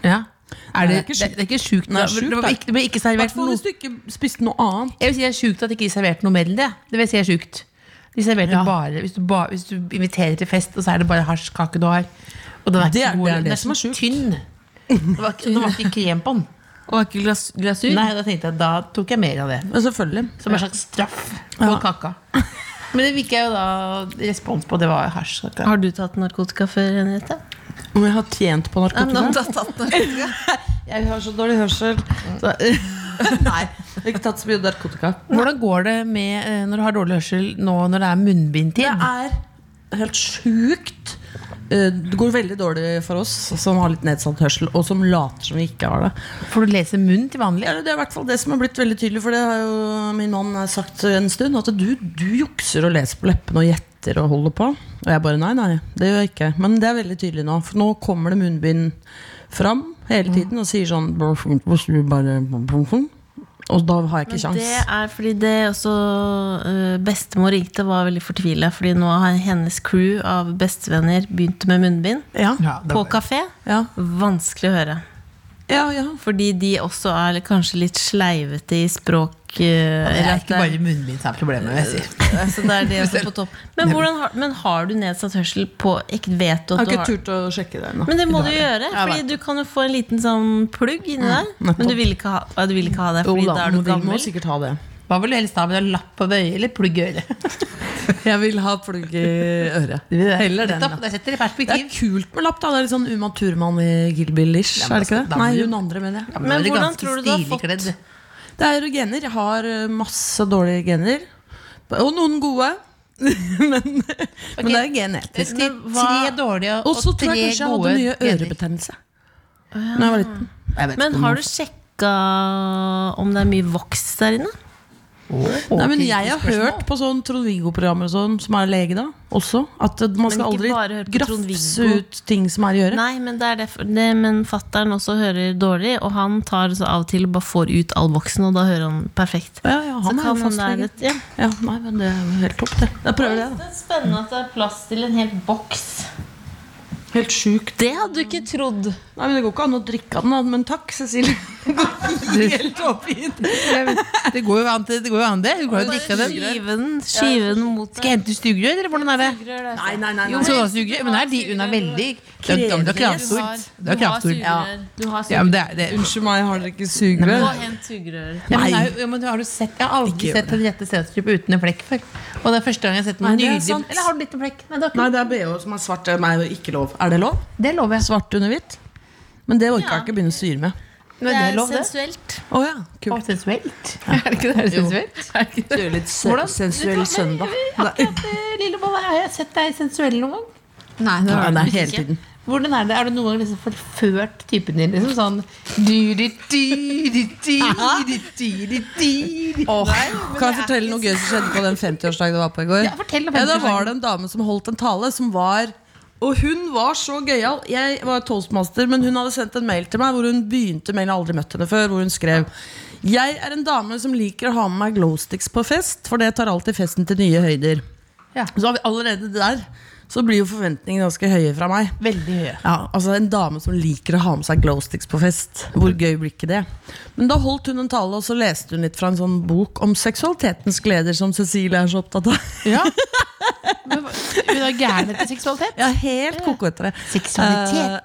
S4: Er det,
S6: det er ikke
S4: det, det er ikke sjukt.
S6: Nei,
S4: da.
S6: sjukt,
S4: det, var
S6: da.
S4: ikke, det ble ikke servert
S6: Hvertfall
S4: noe
S6: hvis du ikke spiste noe annet.
S4: Jeg vil si det er sjukt at de ikke serverte noe mer enn det. Det vil si er sjukt. De serverte bare, hvis du ba, hvis du inviterer til fest, og så er det bare hasjkake du har. Og den er
S6: Det
S4: ikke
S6: er-
S4: god,
S6: det er
S4: den
S6: det
S4: er
S6: som er
S4: så
S6: sjukt.
S4: tynn. Det var, ikke- det var ikke krem på den.
S3: Og ikke glas glasur?
S4: Nei, da tenkte jeg, da tok jeg mer av det.
S6: Ja, Selvfølgelig.
S4: Som en slags straff på kaka. Men det fikk jeg jo da respons på. Det var hasjkaka.
S3: Har du tatt narkotika før, Henriette?
S6: Om jeg har tjent på narkotika?
S5: Jeg har så dårlig hørsel. Så,
S3: eh,
S5: nei, jeg har ikke tatt så mye narkotika.
S4: Hvordan går det med eh, når du har dårlig hørsel nå når det er munnbindtid?
S5: Det er helt sjukt. Eh, Det går veldig dårlig for oss som har litt nedsatt hørsel, og som later som vi ikke har det.
S4: Får du lese munn til vanlig?
S5: Ja, Det er i hvert fall det som har blitt veldig tydelig, for det har jo min mann sagt en stund. At du, du jukser og leser på leppene og gjetter og holder på. Og jeg bare nei, nei, det gjør jeg ikke. Men det er veldig tydelig nå. For nå kommer det munnbind fram hele tiden og sier sånn Og da har
S3: Men
S5: jeg ikke
S3: det
S5: kjangs.
S3: er fordi det også øh, Bestemor ringte og var veldig fortvila, fordi nå har hennes crew av bestevenner begynt med munnbind.
S5: Ja,
S3: På kafé.
S5: ja,
S3: Vanskelig å høre.
S5: ja, ja.
S3: Fordi de også er kanskje litt sleivete i språk. øh,
S4: Det
S3: eller
S4: er
S3: at
S4: ikke bare munnbind som er problemet. vil Jeg sier.
S3: altså, det er det også på topp. Men, hvordan har, men har du nedsatt hørsel på ikke vet du at
S5: Jeg har
S3: du
S5: ikke
S3: har
S5: turt å sjekke det ennå.
S3: Men det må du gjøre, Fordi du kan jo få en liten sånn plugg inni
S5: [laughs]
S3: der. Men du vil ikke ha, ja, du vil ikke ha det,
S5: Jo
S3: Fordi
S5: da,
S3: da er
S5: men
S3: du
S5: vi må
S3: gammel.
S5: sikkert ha det.
S4: Hva vil du helst ha med deg? Lapp på øyet eller plugg i øret?
S5: [laughs] Jeg vil ha plugg i øret. Heller den.
S4: Nettopp,
S5: da.
S4: Det setter i
S5: Det er
S4: perspektiv.
S5: kult med lapp, da. Det er litt sånn Uma Thurman i Kill Bill ish.
S4: Ja, men
S5: Er det ikke
S4: altså,
S5: det?
S4: da
S5: Nei,
S4: blir du-
S5: hun andre, mener jeg.
S4: Ja,
S3: Men
S4: det er
S3: hvordan
S4: ganske
S3: tror du du har
S4: stilig
S3: fått-
S4: kledd.
S5: Det er jo gener. Jeg har eh, masse dårlige gener. Og noen gode. men, men det er genetisk.
S4: Tre tre dårlige
S5: Og så
S4: og tre
S5: tror jeg
S4: gode
S5: kanskje jeg hadde mye
S4: gener.
S5: ørebetennelse. Når jeg var liten.
S4: Jeg vet
S3: Men
S4: ikke om-
S3: har du sjekka om det er mye voks der inne?
S5: Nei, men
S4: Ok,
S5: jeg har
S4: spørsmål.
S5: hørt på sånn Trond-Viggo-programmer og sånn, som er lege, da, også, at eh, man skal
S3: ikke bare høre
S5: aldri
S3: på
S5: grafse
S3: Trond-Viggo.
S5: ut ting som er i øret.
S3: Nei, men det er derfor det, Men fattern også hører dårlig, og han tar så av og til og bare får ut all voksen, og da hører han perfekt.
S5: Ja, ja, han
S3: så
S5: er jo
S3: kan han
S5: fastlege.
S3: der et, ja.
S5: Ja, nei, men det er jo helt topp, det. Jeg prøver det, da.
S3: er spennende at det er plass til en hel boks.
S5: Helt sjukt.
S3: Det hadde du ikke trodd.
S5: Nei, men Det går ikke an å drikke av den, da. men takk, Cecilie. Helt oppgitt.
S4: Det går jo an, til- det. Går jo an det. Du kan jo drikke av dem.
S3: Skiven, skiven mot
S4: Skal jeg hente sugerør, eller hvordan er det?
S5: Nei, nei, nei.
S4: Jo, men- Sodasugerør? Men er de, hun er veldig Det er- det er kraftord. Det er kraftord. Ja.
S3: Du har
S4: Ja, men det er, det er.
S5: Unnskyld meg, har dere ikke sugerør?
S3: hent sugerør.
S4: Ja, men det er jo- ja, men har du sett, jeg har aldri sett Henriette Stenstrup uten en flekk før. Og det er første gang jeg har sett
S5: Nei,
S4: noen
S5: det er
S4: nydelig
S5: sant.
S4: Eller har du litt en flekk? Nei, det, har
S5: Nei,
S4: ikke-
S5: det er BH som er svart. Det er jo ikke lov. Er det lov?
S4: det lover jeg.
S5: Svart under hvitt? Men det orker
S3: Ja.
S5: jeg ikke begynne å styre med.
S3: Det
S4: Men det er
S3: er
S4: lov, det.
S3: sensuelt.
S5: Å ja,
S4: Å,
S5: kult.
S4: sensuelt. Er det ikke det? Er det sensuelt? Er det ikke det?
S5: Kjøre litt se-
S4: Hvordan?
S5: sensuell søndag. Nei,
S4: Akkurat, eh, Lillebolla, har jeg sett deg sensuell noen gang?
S5: nei, nei, hele tiden.
S4: Hvordan er det? Er du noen gang liksom forført typen din? Liksom sånn du, du, du, du, du, du, du, du, du, du.
S5: kan jeg fortelle noe gøy som skjedde på den 50-årsdagen det var på i går?
S4: Ja, fortell om
S5: ja, Da
S4: 50-årsdagen.
S5: var det en dame som holdt en tale som var og hun var så gøyal. Jeg var toastmaster, men hun hadde sendt en mail til meg hvor hun begynte mailen, jeg har aldri møtt henne før, hvor hun skrev Jeg er en dame som liker å ha med meg glowsticks på fest, for det tar alltid festen til nye høyder.
S4: Ja.
S5: Så har vi allerede der så blir jo forventningene ganske høye fra meg.
S4: Veldig høye.
S5: Ja, altså En dame som liker å ha med seg glowsticks på fest. Hvor gøy blir ikke det? Men da holdt hun en tale, og så leste hun litt fra en sånn bok om seksualitetens gleder, som Cecilie er så opptatt av.
S4: Ja. Men hva- Hun er gæren etter seksualitet.
S5: Ja, [laughs] Eh. helt koko etter det.
S4: Seksualitet.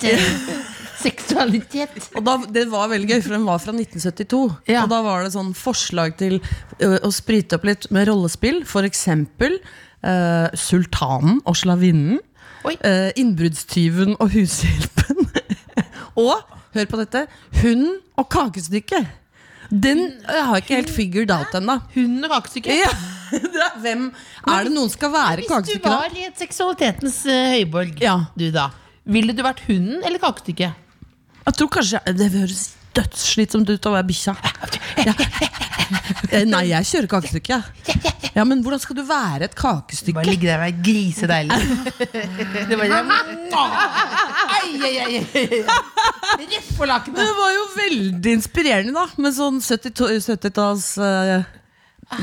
S4: Seksualitet.
S5: Og da, Det var veldig gøy, for den var fra 1972.
S4: Ja.
S5: Og da var det sånn forslag til ø, å sprite opp litt med rollespill. For eksempel ø, Sultanen og slavinnen.
S4: Oi.
S5: ø, innbruddstyven og hushjelpen. [laughs] og, hør på dette, hunden og kakestykket. Den jeg har ikke helt figured out ennå.
S4: Hun og kakestykket.
S5: [laughs] Ja, det er- hvem er det noen skal være
S4: Hvis du
S5: kakestykket, da?
S4: var i et seksualitetens eh, høyborg,
S5: Ja.
S4: du da, ville du vært hunden eller kakestykket?
S5: Jeg tror kanskje Det høres dødsslitsomt ut av å være bikkja. Ja. Eh, Nei, jeg kjører kakestykke. jeg. Ja, men hvordan skal du være et kakestykke?
S4: Bare ligge der og være grisedeilig. [laughs] Det var Ai, ai, ai, ai. Rett på
S5: Det
S4: lakenet.
S5: var jo veldig inspirerende, da. Med sånn 70-talls eh,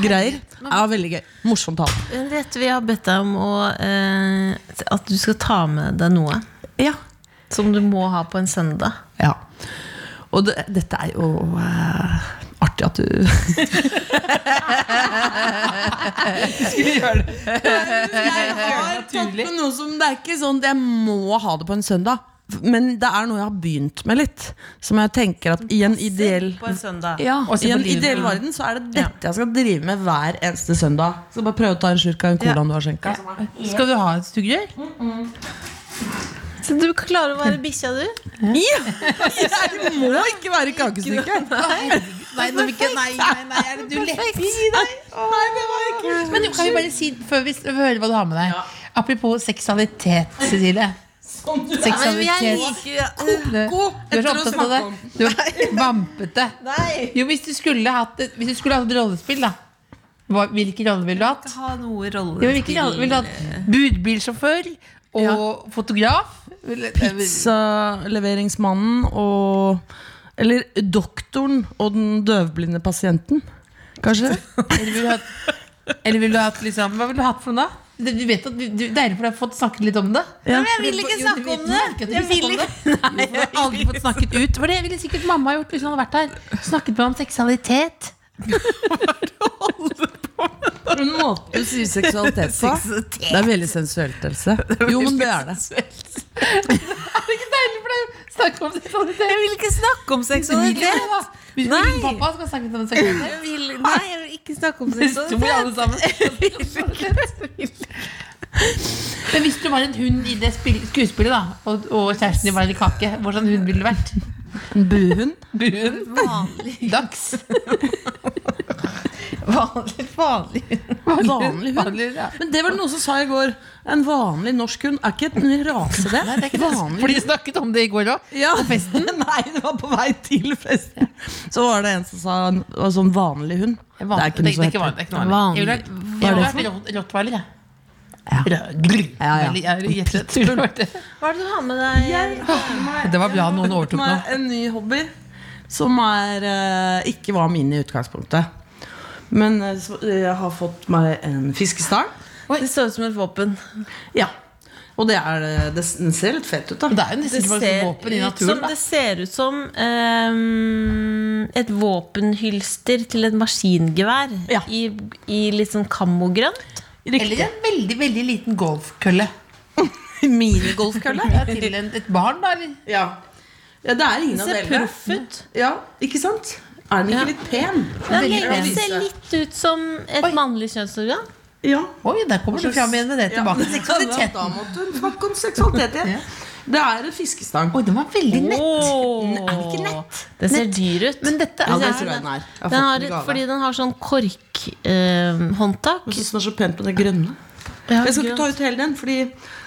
S5: greier. Ja, veldig gøy. Morsomt tall.
S3: Henriette, vi har bedt deg om å, eh, at du skal ta med deg noe
S5: Ja.
S3: som du må ha på en søndag.
S5: ja. Og det, dette er jo eh, artig at [laughs] du Jeg har tatt med noe som Det er ikke sånn at jeg må ha det på en søndag. Men det er noe jeg har begynt med litt. Som jeg tenker at i en ideell
S3: På en søndag.
S5: ja,
S4: Og se
S5: I
S4: på
S5: en
S4: livet.
S5: ideell verden så er det dette jeg skal drive med hver eneste søndag. Så bare prøve å ta en slurk av en colaen du har skjenka.
S4: Skal du ha et sugerør?
S3: Så du klarer å være bikkja, du?
S5: [laughs] Jeg må ikke være kakestykke!
S4: Nei, nå vil ikke- nei, nei, nei, er det du letter i deg? Men jo, kan vi bare si, før vi s- hører hva du har med deg Apropos seksualitet, Cecilie.
S5: Sånn
S4: Seksualitet. Du- Du er så opptatt av det. Du er
S5: [laughs]
S4: vampete. Jo, hvis du skulle hatt et, hvis du skulle hatt et rollespill, da. Hva, hvilke roller ville du hatt?
S3: Ha noe rolle
S4: Jo, hvilke roller ville du hatt? Budbilsjåfør og fotograf? Ville-
S5: Pizzaleveringsmannen og Eller doktoren og den døvblinde pasienten. Kanskje?
S4: Eller ville du hatt, eller ville du hatt liksom, Hva ville du hatt for noe da? Du, du vet at du, du, det er derfor du har fått snakket litt om det.
S5: Ja.
S3: Men jeg vil ikke snakke om det! Jeg vil ikke
S4: [laughs] Nei, jeg har aldri fått snakket ut. For det ville sikkert mamma gjort hvis hun hadde vært her. Snakket med om seksualitet.
S5: En måte du sier seksualitet på. Det er veldig sensuelt, Else. Jo, men det er det.
S4: Er det ikke deilig for deg å snakke om seksualitet?
S3: Jeg vil ikke snakke om
S4: Ja,
S3: seksualitet!
S4: da. Hvis
S3: Nei.
S4: ikke pappa skal snakke om seksualitet.
S3: Jeg vil, nei, jeg vil ikke
S4: [laughs]
S3: snakke om
S4: Så må vi alle
S3: seksualitet.
S4: sammen snakke om seksualitet. Men hvis du var en hund i det spill, skuespillet, da, og, og kjæresten din var en kake, hvordan hund ville du vært?
S5: En buhund.
S4: Buen?
S3: Vanlig,
S4: Dags?
S3: vanlig, vanlig.
S5: Vanlig hund.
S4: Vanlig, ja.
S5: Men det var det noen som sa i går. En vanlig norsk hund er ikke en rase, det.
S4: Nei, det er ikke det. For de snakket om det i går òg.
S5: Ja. [laughs] Nei, det var på vei til festen. Så var det en som sa en det var sånn vanlig hund. Det er ikke noe som heter
S4: vanlig. det er ikke noe vanlig. Jeg ville vært- jeg ville vært rottweiler, jeg. Ja.
S5: Ja, ja.
S4: Eller, jeg ville gjettet at du ville vært det.
S3: Hva er det du har med deg?
S4: Det var bra noen overtok
S5: Som
S4: nå.
S5: er en ny hobby som er, eh, ikke var min i utgangspunktet. Men eh, så, eh, jeg har fått meg en fiskestang.
S3: Det ser ut som et våpen.
S5: Ja. Og det er, eh, det, den ser litt fett ut, da.
S4: Det er jo nesten liksom
S3: Det
S4: ikke bare
S3: ser,
S4: våpen i
S3: ut som,
S4: naturen. da.
S3: det ser ut som ehm, et våpenhylster til et maskingevær
S5: Ja.
S3: i, i litt sånn kammogrønt.
S4: Eller en veldig veldig liten golfkølle.
S5: Minigolfkølle?
S4: Ja, til en, et barn, da? Eller?
S5: ja. ja. Det er ingen
S3: Det
S5: av
S3: ser
S5: delene.
S3: proff ut.
S5: Ja, ikke sant? Er den ikke litt pen?
S3: Ja,
S4: Veldig
S3: det
S4: bra.
S3: ser litt ut som et
S4: Oi.
S3: mannlig kjønnsorgan.
S5: Ja.
S4: Oi, der kommer du fram igjen med det tilbake til
S5: [laughs] Ja,
S4: seksualiteten.
S5: Da måtte hun snakke om seksualitet igjen. Det er en fiskestang.
S4: Oi, den var veldig nett.
S3: Åh.
S4: Er det ikke nett?
S3: Det ser dyr ut.
S4: Men dette
S5: Ja,
S4: er
S5: det
S3: er
S5: tror jeg den er. Jeg har
S3: Den
S5: fått
S3: har,
S5: den i
S3: et-
S5: gave.
S3: fordi den har sånn eh, korkhåndtak.
S5: Jeg synes den er så pent med det grønne. Jeg skal ikke ta ut hele den, fordi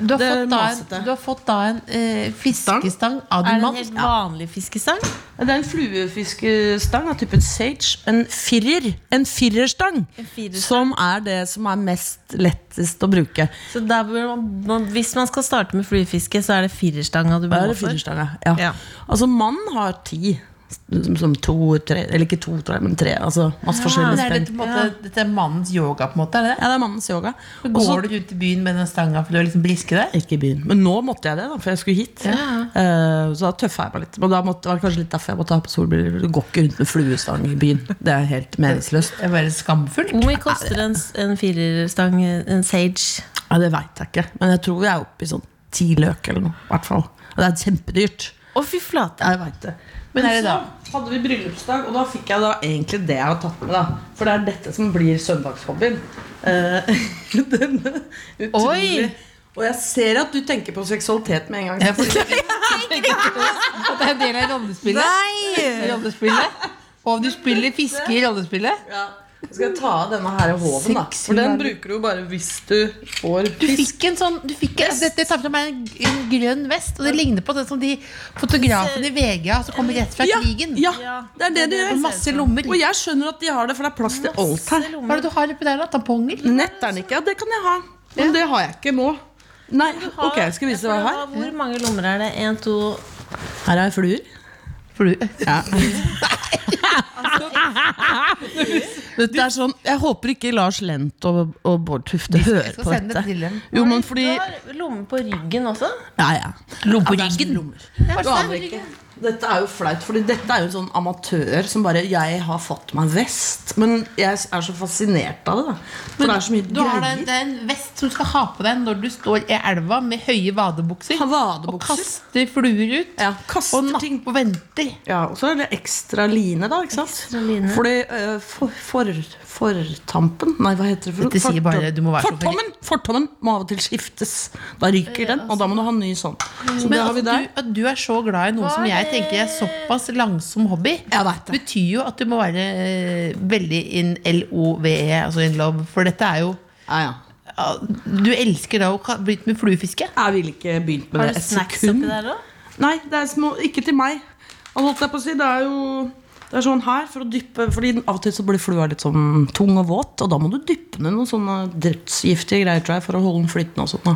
S4: Du har
S5: det
S4: fått da
S5: er
S4: en,
S5: masete.
S4: du har fått da en eh, fiskestang
S3: er
S4: av
S3: det
S4: din
S3: en
S4: mann.
S3: helt vanlig fiskestang?
S5: Det er en fluefiskestang av typen sage. En firer. En firerstang.
S3: firerstang.
S5: Som er det som er mest lettest å bruke.
S3: Så der bør man, man, hvis man skal starte med fluefiske, så er det firerstanga du
S5: Da
S3: bør
S5: er
S3: gå
S5: det
S3: for.
S5: firerstang, ja. ja.
S3: Ja.
S5: Altså, mann har ti. Som, som to, tre Eller ikke to, tror jeg, men tre. Altså masse
S4: Men
S5: forskjellige
S4: Ah, er
S5: spenn.
S4: dette, på en måte, dette er mannens yoga, på en måte? Er det? det?
S5: Ja, det er mannens yoga. Og så-
S4: Går du rundt i byen med den stanga for å liksom briske deg?
S5: Ikke i byen. Men nå måtte jeg det, da, for jeg skulle hit. Eh, så da tøffa jeg meg litt. Men da måtte, det var kanskje litt derfor jeg måtte ha på solbriller. Du går ikke rundt med fluestang i byen. Det er helt meningsløst.
S4: Det er bare skamfullt.
S3: Hvor mye koster en, en firerstang, en sage?
S5: Ja, Det veit jeg ikke, men jeg tror vi er oppe i sånn ti løk eller noe. i hvert fall. Og det er kjempedyrt.
S3: Å, fy flate.
S5: Jeg vet det. Men,
S4: er det
S5: så hadde vi bryllupsdag, og da fikk jeg da egentlig det jeg har tatt med. da For det er dette som blir søndagshobbyen. Eh, [laughs] denne utrolig
S3: Oi!
S5: Og jeg ser at du tenker på seksualitet med en gang.
S4: Jeg forstår At det er en del av rollespillet?
S3: Nei!
S4: [laughs] Rollespillet? Og om du spiller fiske i rollespillet?
S5: Ja. Skal jeg ta av denne her håven, da? For den bruker du jo bare hvis du får
S4: Du
S5: fisk.
S4: fikk en sånn du fikk, Dette tar fra meg en, en grønn vest, og det ligner på den som de fotografene i VG har som kommer rett fra
S5: Ja,
S4: krigen.
S5: ja, det er det du
S4: Og
S5: gjør.
S4: masse lommer.
S5: Og jeg skjønner at de har det, for det er plass til alt her.
S4: Hva er det du har oppi der, da? Tamponger?
S5: Nett er den ikke, ja, det kan jeg ha. Men det har jeg ikke nå. Nei, ok, jeg skal vise deg hva jeg har.
S3: Hvor mange lommer er det? En, to
S5: Her har jeg fluer. [laughs] Dette er sånn, Jeg håper ikke Lars Lent og, og Bård Tufte hører
S4: skal
S5: på
S4: sende
S5: dette.
S4: det til dem.
S5: Jo, men fordi
S3: Du har lommer på ryggen også?
S5: Ja, ja.
S4: Lomper
S5: Ja, det er sånn lommer. Du aner ikke. Dette er jo flaut, Fordi dette er jo en sånn amatør som bare 'Jeg har fått meg vest'. Men jeg er så fascinert av det. da For det er så mye
S4: Du har
S5: greier.
S4: den, det er en vest som du skal ha på deg når du står i elva med høye vadebukser.
S5: Ha vadebukser.
S4: Og kaster fluer ut.
S5: Ja, kaster
S4: og napp
S5: ting.
S4: og venter.
S5: Ja, og så er det ekstra line, da. ikke sant? Fordi eh, for, for, fortampen Nei, hva heter det? For,
S4: Dette sier bare, du må være så veldig-
S5: fortommen, fortommen må av og til skiftes. Da ryker den, og da må du ha en ny sånn. Så
S4: Mm. Men
S5: det har vi
S4: at
S5: der.
S4: du, at du er så glad i noe som jeg tenker er såpass langsom hobby,
S5: Jeg vet det.
S4: betyr jo at du må være eh, veldig in LOVE, altså in love. For dette er jo
S5: Ja, ja.
S4: ja, Du elsker da å ka- bli med fluefiske?
S5: Jeg ville ikke begynt med
S3: Har
S5: det
S3: du
S5: et
S3: snacks
S5: sekund.
S3: oppi der òg?
S5: Nei, det er små, ikke til meg. Og holdt jeg på å si, det er jo det er sånn her for å dyppe Fordi Av og til så blir flua litt sånn tung og våt, og da må du dyppe ned noen sånne drepsgiftige greier tror jeg, for å holde den flytende. og sånt da.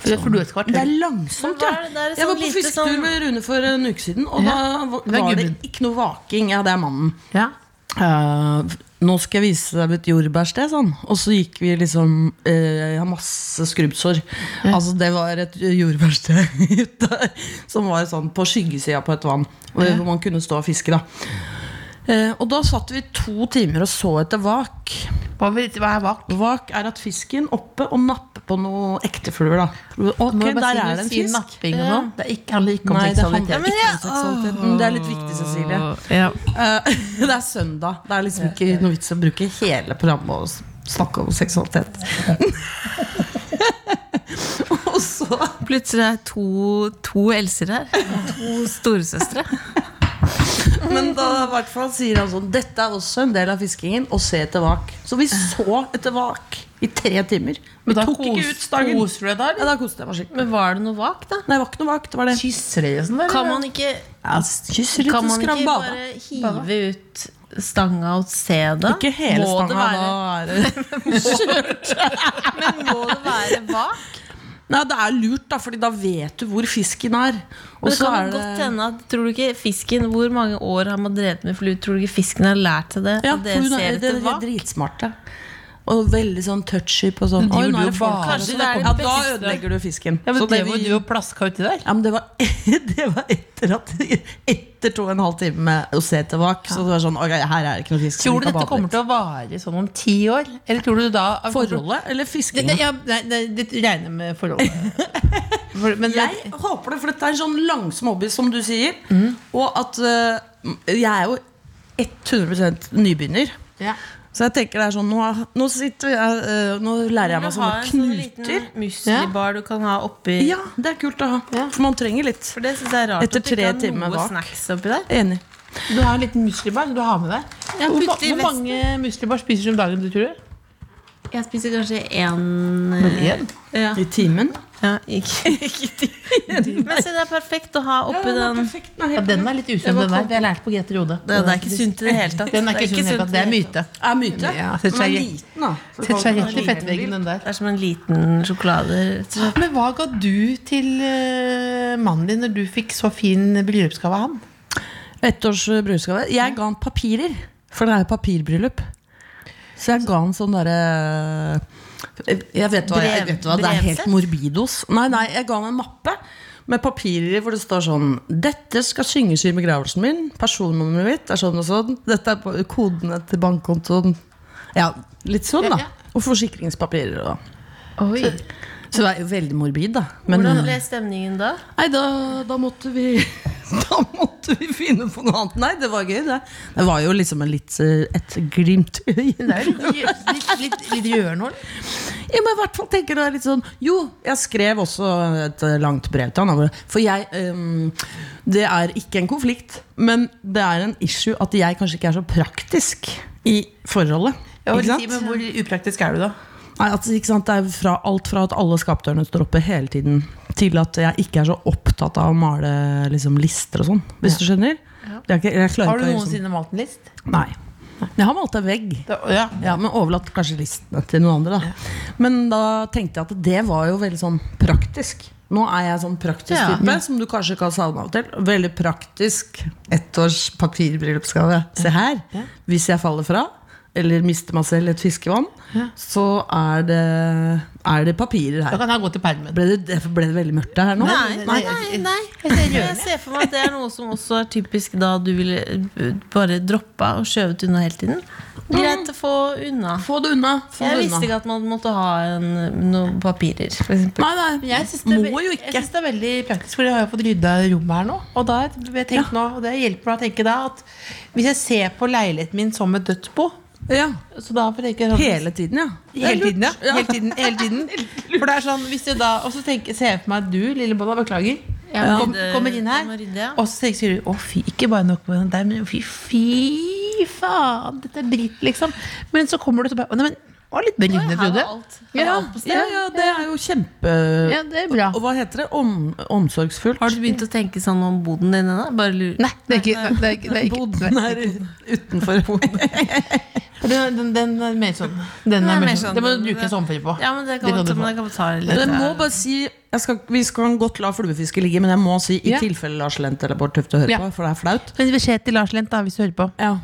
S4: For at flua skal være
S5: Sånn. Det er
S4: tørr.
S5: langsomt,
S3: Men
S5: ja.
S3: hva er det? Det er
S5: Jeg
S3: sånn
S5: var på
S3: lite
S5: fisketur
S3: sånn-
S5: med Rune for en uke siden, og da var
S4: det er
S5: var det
S4: gubben.
S5: ikke noe vaking. Ja, det er mannen.
S4: Ja.
S5: Eh, nå skal jeg vise deg et jordbærsted, sånn. Og så gikk vi liksom eh, Jeg har masse skrubbsår. Altså, det var et jordbærsted [laughs] ute som var sånn på skyggesida på et vann. Hvor hvor man kunne stå og fiske, da. Eh, og da satt vi to timer og så etter vak.
S4: Hva vil- hva er vakt?
S5: Vak er at fisken oppe og napper på noen ekte fluer, da. Ok,
S4: Må jeg bare
S5: der
S4: si
S5: er
S4: noe,
S5: det en
S4: si
S5: fisk.
S4: Napping og sånn. Det er ikke, handler ikke om
S5: Nei, det handler
S4: seksualitet.
S5: ikke om seksualiteten. Mm, Det er litt viktig, Cecilie.
S4: Ja.
S5: Eh, [laughs] Det er søndag. Det er liksom ikke noe vits å bruke hele programmet og s- snakke om seksualitet. og så
S3: Plutselig er det to, to Elser [laughs] her. To storesøstre.
S5: Men da i hvert fall sier han sånn Dette er også en del av fiskingen. Å se etter vak. Så vi så etter vak i tre timer. Vi
S4: Men da
S5: tok ikke
S4: kos-
S5: ut stangen.
S4: koser du deg da, eller?
S5: Ja, da koste jeg meg skikkelig.
S3: Men var det noe vak, da?
S5: Nei, det var ikke noe vak. Det var det.
S4: Kysser dere og sånn? eller?
S3: Kan man ikke,
S5: Ja, kysser litt
S3: kan man
S5: og
S3: ikke
S5: skram bada.
S3: bare hive ut stanga og se, da?
S5: Ikke hele
S3: Må det
S5: stanga.
S3: være-
S5: da er
S3: [laughs]
S5: det-
S3: Men må det være vak?
S5: Nei, det er lurt, da, Fordi da vet du hvor fisken er. Og
S3: Men det
S5: så
S3: kan
S5: er
S3: godt
S5: det
S3: hende at Tror du ikke fisken Hvor mange år har man drevet med flue? Tror du ikke fisken har lært seg det?
S5: Ja,
S3: og
S5: for
S3: dere
S5: hun
S3: ser
S5: er, det,
S3: etter
S5: de er
S3: vak?
S5: dritsmarte. Og veldig sånn touchy på sånn. Oi, nå er det folk her.
S3: Kanskje det er
S5: Ja,
S3: det
S5: da
S3: beste
S5: ødelegger du fisken.
S4: Ja, men
S5: Så
S4: det
S5: det
S4: var
S5: vi-
S4: du og plaska uti der.
S5: ja, men det var, [laughs] det var etter at Etter to og en halv time med å se etter vak. Så det var sånn, ok, her er det ikke noe fisk.
S4: Tror du dette kommer til å vare sånn om ti år? Eller tror du da
S5: Forholdet eller
S4: Det,
S5: fiskinga?
S4: det, ja, nei, nei, det regner med forholdet. For, men
S5: Jeg håper det, for dette er en sånn langsom hobby, som du sier. Og at eh, jeg er jo 100 nybegynner.
S4: Ja.
S5: Så jeg tenker det er sånn, nå, nå sitter jeg eh, Nå lærer jeg meg
S3: Du må ha
S5: sånne
S3: en sånn
S5: knuter.
S3: liten muslibar du kan ha oppi
S5: Ja, det er kult å ha. For man trenger litt.
S3: For det synes jeg er rart
S5: Etter
S3: at du ikke
S5: tre
S3: har
S5: timer
S3: noe
S5: vak.
S3: snacks oppi der.
S5: Enig.
S4: [laughs] Du har en liten muslibar du har med deg. Hvor, ma-
S3: putter i
S4: hvor mange muslibar spiser du om dagen, du tror du?
S3: Jeg spiser kanskje én
S4: én?
S3: Ja,
S5: I timen?
S3: ja ikke, ikke ti. Men se, det er perfekt å ha oppi den.
S4: Ja, den er litt usunn, den der. Det har jeg lært på GT Rode.
S3: Det, det er ikke sunt i det hele tatt.
S4: Den er ikke sunn, i det hele tatt. det er
S3: i det hele
S4: myte.
S5: Er myte?
S4: Ja, setter
S5: Men
S4: seg i-
S5: liten, da. Så
S4: Setter seg
S5: folk-
S4: rett i fettveggen, den
S3: tatt.
S4: der.
S3: Det er som en liten sjokolade.
S4: Men hva ga du til eh, mannen din når du fikk så fin bryllupsgave av han?
S5: Ett års eh, bryllupsgave. Jeg ga han papirer, for det er jo papirbryllup. Så jeg ga han sånn derre eh, jeg vet, hva, jeg
S3: Brev-
S5: vet hva, det er helt
S3: brevsett?
S5: morbidos. Nei, nei, jeg ga han en mappe med papirer i hvor det står sånn Dette skal synges i begravelsen min. Personnummeret mitt er sånn og sånn. Dette er på- kodene til bankkontoen. Ja, litt sånn, da. Og forsikringspapirer og
S3: Oi.
S5: Så det er jo veldig morbid, da. Men eh,
S3: Hvordan ble stemningen da?
S5: nei, da, da måtte vi [laughs] Da måtte vi finne på noe annet. Nei, det var gøy, det. Det var jo liksom en litt, eh, et glimt i øyet.
S4: Det er jo litt, litt, litt, litt gjørnål.
S5: Jeg må i hvert fall tenke det er litt sånn Jo, jeg skrev også et eh, langt brev til han. da, hvor- For jeg ehm, Det er ikke en konflikt, men det er en issue at jeg kanskje ikke er så praktisk i forholdet.
S4: Jeg
S5: Ikke
S4: vil si,
S5: sant?
S4: men hvor upraktisk er du, da?
S5: Nei, altså, ikke sant? Det er fra, alt fra at alle skapdørene står oppe hele tiden, til at jeg ikke er så opptatt av å male liksom, lister og sånn. Hvis du skjønner? Det er ikke, jeg klarer
S4: Har du
S5: ikke å liksom-
S4: noensinne malt en list?
S5: Nei. Men Jeg har malt en vegg.
S4: ja.
S5: Ja, Men overlatt kanskje listene til noen andre. da Men da tenkte jeg at det var jo veldig sånn praktisk. Nå er jeg sånn praktisk
S3: Ja.
S5: type, som du kanskje ikke har savna av og til. Veldig praktisk. Ett års papirbryllupsgave. Se her. Hvis jeg faller fra, eller mister meg selv i et fiskevann, så er det, er det papirer
S4: Da
S5: her.
S4: kan jeg gå til permen.
S5: Ble det, derfor ble det veldig mørkt der her nå?
S3: Nei, nei, nei, Jeg ser for meg at det er noe som også er typisk da du ville eh, bare droppa og skjøvet unna hele tiden. Greit å få unna.
S5: Få det unna. Få
S3: Jeg
S5: det
S3: visste
S5: unna.
S3: ikke at man måtte ha en, noen papirer, for eksempel.
S5: Nei, nei.
S4: Men jeg syns det, er
S5: Må
S4: ve-
S5: jo
S4: jeg
S5: ikke.
S4: synes det er veldig praktisk, for jeg har jo fått rydda rommet her nå. Og da har jeg tenkt nå, og det hjelper meg å tenke da at hvis jeg ser på leiligheten min som et dødsbo
S5: Ja.
S4: så da får jeg tenke sånn-
S5: Hele tiden, ja.
S4: Hele tiden, ja. Hele tiden, [laughs] hele tiden. For det er sånn, hvis jeg da, Og så tenker, ser jeg for meg at du, lille Bolla, beklager.
S3: må
S4: Kom,
S3: rydde-
S4: kommer inn her,
S3: jeg må rydde, ja.
S4: og så tenker sier du å fy, ikke bare nok med den der, men fy, fy faen, dette er dritt, liksom. Men så kommer du til bare, å, nei, men, å, litt
S3: Oi,
S4: beryddet,
S3: her var
S4: Trude.
S3: alt. Her var
S4: Ja,
S3: alt på sted.
S5: Ja, ja, det er jo kjempe
S4: ja, det er bra.
S5: Og hva heter det? Om, omsorgsfullt?
S3: Har du begynt å tenke sånn om boden din ennå? Bare lurer.
S4: Nei, det er ikke, nei, det er ikke, det er ikke
S5: Boden er utenfor hodet.
S4: den, den, den er mer sånn. Den
S3: Den
S4: er
S3: er mer
S4: mer
S3: sånn.
S4: sånn. Det må du bruke sommerferie på.
S3: Ja, men det
S4: Det
S3: kan man,
S4: kan du
S3: ta-
S4: få.
S3: men det kan man ta litt.
S5: Jeg må bare si jeg skal, Vi skal godt la fluefiske ligge, men jeg må si i
S4: Ja.
S5: tilfelle Lars Lent eller Bård Tufte hører
S4: Ja.
S5: på, for det er flaut.
S4: Men beskjed til Lars Lent, da, hvis du hører på.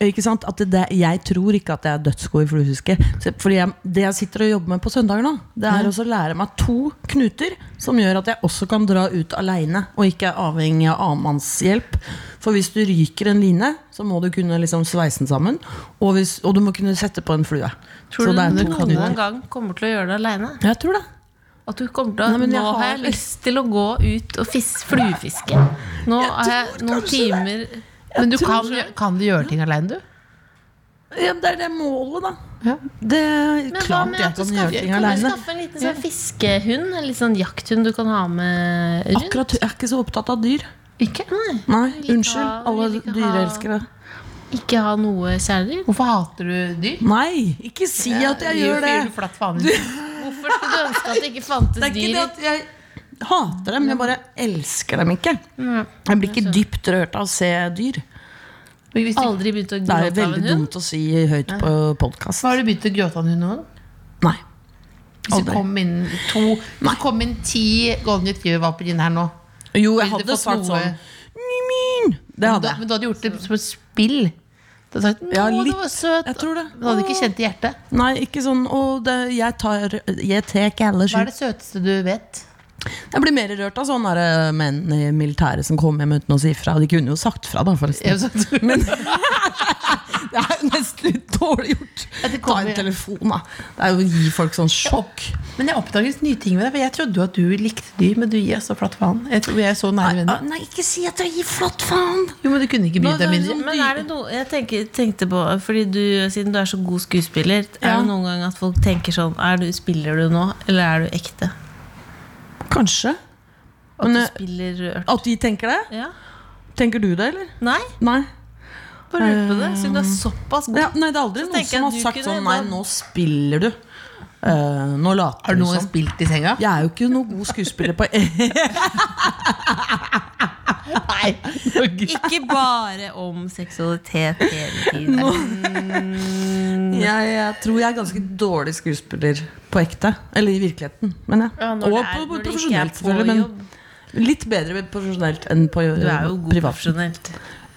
S5: Ikke sant? At det, det- jeg tror ikke at jeg er dødsgod i fluefiske. Så- Fordi jeg, det jeg sitter og jobber med på søndager nå, det er også å lære meg to knuter som gjør at jeg også kan dra ut aleine og ikke er avhengig av annenmannshjelp. For hvis du ryker en line, så må du kunne liksom sveise den sammen. Og, hvis, og du må kunne sette på en flue.
S3: Tror du
S5: så det er
S3: du
S5: to
S3: noen
S5: knuter.
S3: gang kommer til å gjøre det aleine?
S5: Jeg tror det.
S3: At du kommer til å
S5: Nei, men jeg
S3: Nå har
S5: har-
S3: jeg lyst til å gå ut og fis- fluefiske. Nå har jeg noen timer
S4: Men du
S5: tror
S4: kan, kan du gjøre ting aleine, du?
S5: Ja, det er det målet, da.
S4: Ja.
S5: Det er
S3: Men hva
S5: klart
S3: med
S5: jeg
S3: at du
S5: kan gjøre
S3: skaffer, kan
S5: ting
S3: du
S5: aleine.
S3: skaffe en liten sånn fiskehund? En litt sånn jakthund du kan ha med rundt?
S5: Akkurat, Jeg er ikke så opptatt av dyr.
S3: Ikke, nei.
S5: Nei,
S3: vil ikke
S5: unnskyld.
S3: ha-
S5: Alle
S3: vil ikke ha-
S5: dyreelskere.
S3: ikke ha noe kjæledyr?
S4: Hvorfor hater du dyr?
S5: Nei, ikke si at jeg gjør
S4: Gir
S5: det!
S4: du flatt faen?
S3: Hvorfor skulle du ønske at det ikke fantes
S5: Det er ikke
S3: dyr?
S5: det at jeg hater dem, jeg bare elsker dem ikke. Jeg blir ikke dypt rørt av å se dyr.
S4: Men hvis
S3: i-
S4: du-
S3: Aldri begynt å
S5: Det er
S3: gråte
S5: jo
S3: av
S5: veldig
S3: en hund?
S5: dumt å si høyt på podkast.
S4: Har du begynt å gråte av hund noen?
S5: Nei.
S4: Hvis det
S5: Aldri.
S4: kom inn to Hvis det kom inn ti golden retriever-valper inn her nå
S5: Jo, jeg
S4: Ville du
S5: hadde
S4: fått
S5: svart
S4: noe-
S5: sånn Nimin! Det
S4: da,
S5: hadde jeg.
S4: Men du hadde gjort det som et spill. Du hadde sagt 'Å,
S5: Ja,
S4: det
S5: litt.
S4: var søt'.
S5: Jeg tror det.
S4: Men du hadde ikke kjent det i hjertet.
S5: Nei, ikke sånn Å, det, jeg tar Jeg tek alle
S4: Hva
S5: sju.
S4: er det søteste du vet?
S5: Jeg blir mer rørt av sånne der menn i militæret som kom hjem uten å si fra. De kunne jo sagt fra, da,
S4: [laughs] Jeg
S5: forresten.
S4: sa, «Du-
S5: [laughs] Det er jo nesten litt dårlig gjort.
S4: At det
S5: Ta
S4: kommer-
S5: en telefon, da. Det er jo å gi folk sånn sjokk.
S4: Men jeg oppdaget nye ting ved deg. For jeg trodde jo at du likte dyr, men du gir så flatt faen. Jeg tror jeg er så nære venner.
S5: Nei, ah, ikke si at jeg gir flatt faen!
S4: Jo, men du kunne ikke brydd deg mindre.
S3: Men er det noe Jeg tenker, tenkte på Fordi du, siden du er så god skuespiller, er det noen gang at folk tenker sånn er du, Spiller du nå, eller er du ekte?
S5: Kanskje.
S3: At
S5: Men,
S3: du
S5: eh,
S3: spiller rørt?
S5: At de tenker det?
S3: Ja.
S5: Tenker du det, eller?
S3: Nei,
S5: Nei.
S3: bare lurer på det. Siden du er såpass god.
S5: Eh, Ja, nei det er aldri
S3: Så
S5: noen
S3: tenker jeg
S5: som har
S3: du
S5: sagt
S3: kunne
S5: sånn Nei,
S3: da-
S5: nå spiller du. Eh, nå
S4: Har
S5: later
S4: du
S5: du
S4: noen gang
S5: som.
S4: spilt i senga?
S5: Jeg er jo ikke noen god skuespiller på Nei,
S4: Nei.
S3: Ikke bare om seksualitet hele tiden.
S5: jeg, jeg tror jeg er ganske dårlig skuespiller på ekte. Eller i virkeligheten, men jeg.
S3: Ja, når
S5: Og
S3: det
S5: på,
S3: er-
S5: på
S3: når det ikke er
S5: profesjonelt,
S3: på
S5: selvfølgelig. Men
S3: jobb.
S5: Litt bedre profesjonelt enn på
S3: Du er jo god
S5: privat.
S3: profesjonelt.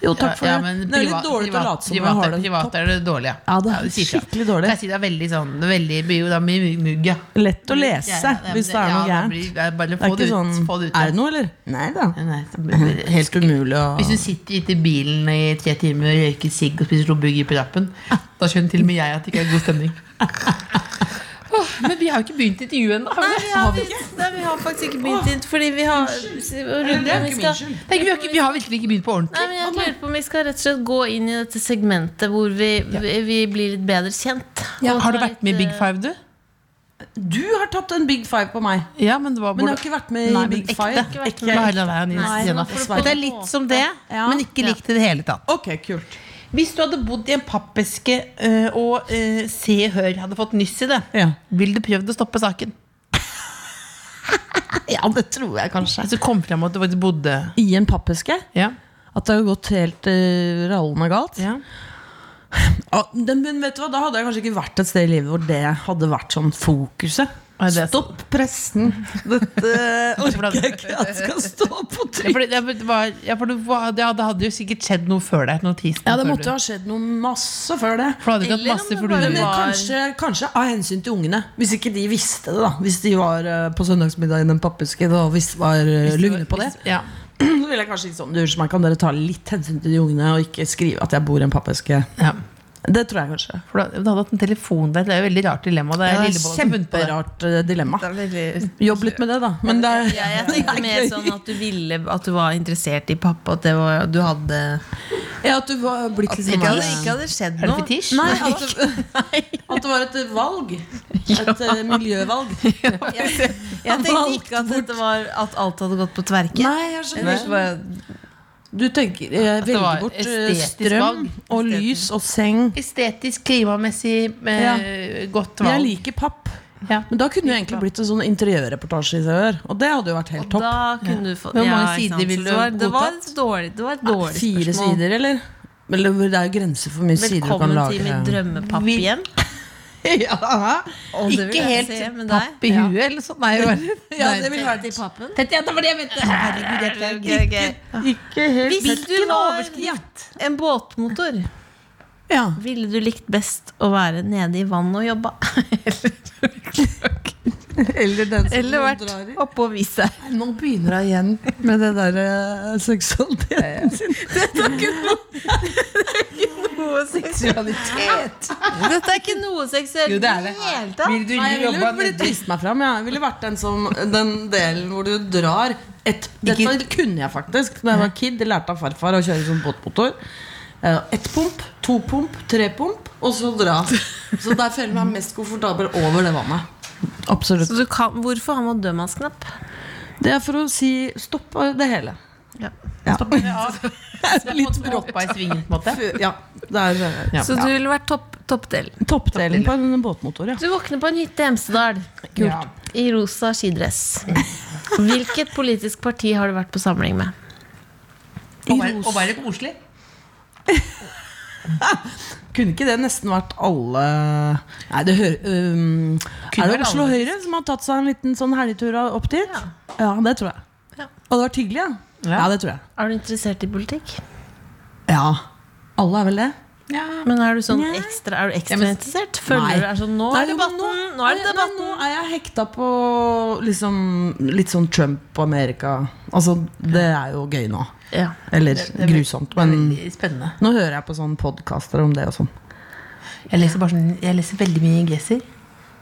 S5: Jo, takk for
S4: ja,
S5: det.
S4: men
S5: Det er
S4: privat-
S5: litt dårlig til å
S4: privat-
S5: late som jeg
S4: privat-
S5: har det
S4: Privat er det dårlig, ja.
S5: Ja, det er
S4: du sier
S5: skikkelig dårlig.
S4: Jeg sier det er veldig sånn det er veldig, det blir jo da mye mugg- mugg, ja.
S5: topp. Lett å lese
S4: Ja, men
S5: hvis det er noe
S4: ja,
S5: gærent.
S4: blir- ja, Bare
S5: Det er
S4: få det ut.
S5: ikke sånn
S4: Få det ut
S5: Er det
S4: ja.
S5: noe, eller? Nei da.
S4: Nei, så blir det helt
S5: Helt umulig å
S4: hvis du sitter ute i bilen i tre timer og røyker sigg og spiser robuggy på rappen, da skjønner til og med jeg at det ikke er god stemning. Åh, men vi har jo ikke begynt intervjuet ennå. har vi det? Har vi ikke?
S3: Nei, vi har faktisk ikke begynt inn, fordi vi har Runde, vi skal
S4: Nei, vi har ikke- Vi har virkelig ikke begynt på
S3: Nei,
S4: ordentlig.
S3: men jeg lurer på om vi skal rett og slett gå inn i dette segmentet hvor vi, vi, vi blir litt bedre kjent. Og
S4: Har du
S3: ta
S4: vært med i
S3: litt,
S4: Big
S3: eh,
S4: Five, du?
S5: Du har tatt en big five på meg.
S4: Ja, men det var
S5: Men jeg har ikke vært med
S4: Nei,
S5: i
S4: men
S5: Big
S4: ekte.
S5: Five.
S3: Ikke vært
S5: Ekte.
S3: med.
S4: Bare la være å
S3: Nei,
S4: nynne.
S3: nå får du
S4: Dette er litt som det, men ikke likt i det hele tatt.
S5: Ok, kult.
S4: Hvis du hadde bodd i en pappeske eh, og eh, Se og Hør hadde fått nyss i det,
S5: Ja.
S4: ville du prøvd å stoppe saken?
S5: ja, det tror jeg kanskje.
S4: Hvis du kom frem at du faktisk bodde
S5: I en pappeske?
S4: ja.
S5: At det har gått helt uh, rallende galt?
S4: Ja.
S5: Ja, den- men vet du hva, Da hadde jeg kanskje ikke vært et sted i livet hvor det hadde vært sånn fokuset.
S4: Nei, det er
S5: Stopp pressen! Dette orker
S4: det-
S5: jeg ikke at skal stå på
S4: Ja,
S5: trykk.
S4: for, det, ja, for det var, ja, for du, var- ja, det hadde jo sikkert skjedd noe før der. Noe teasing
S5: Ja, det
S4: før
S5: måtte
S4: du-
S5: jo ha skjedd noe masse før det.
S4: For du hadde ikke hatt
S3: Eller om
S4: masse
S3: det
S4: for
S3: bare
S4: du
S5: Men eh,
S3: var-
S5: kanskje, kanskje av hensyn til ungene. Hvis ikke de visste det, da. Hvis de var eh, på søndagsmiddag i den pappesken og visst var eh, lugne på det. [clears throat]
S4: Ja.
S5: Så ville jeg kanskje ikke sånn Du, unnskyld meg, kan dere ta litt hensyn til de ungene og ikke skrive at jeg bor i en pappeske?
S4: Ja.
S5: Det tror jeg kanskje.
S4: For du, hadde- du hadde hatt en telefon der. Det er jo et veldig rart dilemma. Det er
S5: Det er
S4: Lillebolla som har funnet på det.
S5: kjemperart eh, dilemma. Jobb litt med det, da. Men [laughs] det er,
S3: Jeg tenkte mer sånn at du ville At du var interessert i pappa, at det var, du hadde
S5: ja, at du var blitt
S3: Ikke
S5: liksom
S3: hadde, ikke hadde skjedd
S4: Er det
S3: noe.
S4: fetisj?
S5: Nei, at det,
S3: [laughs]
S5: at det var et valg. Et eh, miljøvalg.
S3: Jeg tenkte ikke at, dette var, at alt hadde gått på tverke.
S5: Nei, jeg
S3: Jeg tenkte
S5: skjønner.
S3: bare,
S5: Du tenker eh,
S4: det var
S5: velger bort eh,
S4: estetisk
S5: strøm
S4: valg.
S5: og lys og seng.
S4: Estetisk, klimamessig eh, godt valg.
S5: Jeg liker papp.
S4: Ja.
S5: Men da kunne det egentlig blitt en sånn interiørreportasje i Sør. Og det hadde jo vært helt topp.
S3: Da kunne du få
S4: Hvor mange
S3: ikke
S4: sider
S3: sant, så
S4: ville du
S3: det var- Det var
S4: godtatt?
S3: et dårlig, det var et dårlig
S5: Fire
S3: spørsmål.
S5: sider, eller? Eller det er jo grenser for hvor mye sider du kan
S3: Velkommen til mitt
S5: lage.
S3: drømmepapphjem.
S4: [laughs] ja.
S3: Og det vil
S4: Ikke
S3: jeg
S4: helt
S3: se med deg.
S4: papp i huet eller sånn. [laughs] Nei, bare-
S5: Ja, det ville
S3: Tett i pappen.
S4: Tett, ja, det var det jeg mente. Herregud, jeg
S3: Ok,
S4: klarer ikke.
S3: ok.
S5: Ikke helt
S3: Hvis du var en båtmotor,
S5: Ja.
S3: ville du likt best å være nede i vannet og jobbe?
S5: Eller den som
S3: [laughs] Eller vært oppe og vise deg?
S5: Nå begynner hun igjen med det der eh, seksualiteten sin.
S4: Seksualitet.
S3: [laughs] Dette er ikke noe seksuelt
S4: Jo,
S3: i
S4: det er
S3: det
S4: det.
S3: hele tatt.
S4: Vil du
S5: Nei, jeg ville
S4: jobbe
S5: ville
S4: nedi?
S5: trist meg fram. Ja. Jeg ville vært den, som, den delen hvor du drar et, Dette kunne jeg faktisk da jeg var kid. Jeg lærte av farfar å kjøre sånn båtmotor. Eh, Ett pump, to pump, tre pump, og så dra. Så der føler jeg meg mest komfortabel over det vannet. Absolutt.
S3: Så du kan, hvorfor har man dødmannsknapp?
S5: Det er for å si stopp av det hele.
S3: Ja.
S5: Ja. [laughs]
S4: Litt bråpa i svingen, på en måte.
S5: Ja, det er eh,
S3: Så du ville vært topp, toppdelen.
S5: toppdelen på en båtmotor, ja.
S3: Du våkner på en hytte i Hemsedal
S4: Ja. Mm.
S3: i rosa skidress. Hvilket politisk parti har du vært på samling med?
S4: Og være, og være koselig.
S5: [laughs] Kunne ikke det nesten vært alle Nei, det hører øhm,
S4: Kunne
S5: Er det
S4: vært
S5: Oslo
S4: alle.
S5: Høyre som har tatt seg en liten sånn helgetur opp dit? Ja, det tror jeg.
S3: Ja.
S5: Og det har vært hyggelig, ja. ja? det tror jeg.
S3: Er du interessert i politikk?
S5: Ja. Alle er vel det?
S3: Men er du sånn ekstra, er du ekstra interessert? Føler
S5: Nei.
S3: du er sånn Nå er
S5: Nei, jo, men
S3: debatten! Nå er det
S5: Nei,
S3: debatten!
S5: Nei, nå er jeg hekta på liksom, litt sånn Trump og Amerika. Altså, det er jo gøy nå.
S3: Ja.
S5: Eller grusomt, men
S4: Veldig spennende.
S5: nå hører jeg på sånne podkaster om det og sånn.
S4: Jeg leser, bare sånn, jeg leser veldig mye ingresser.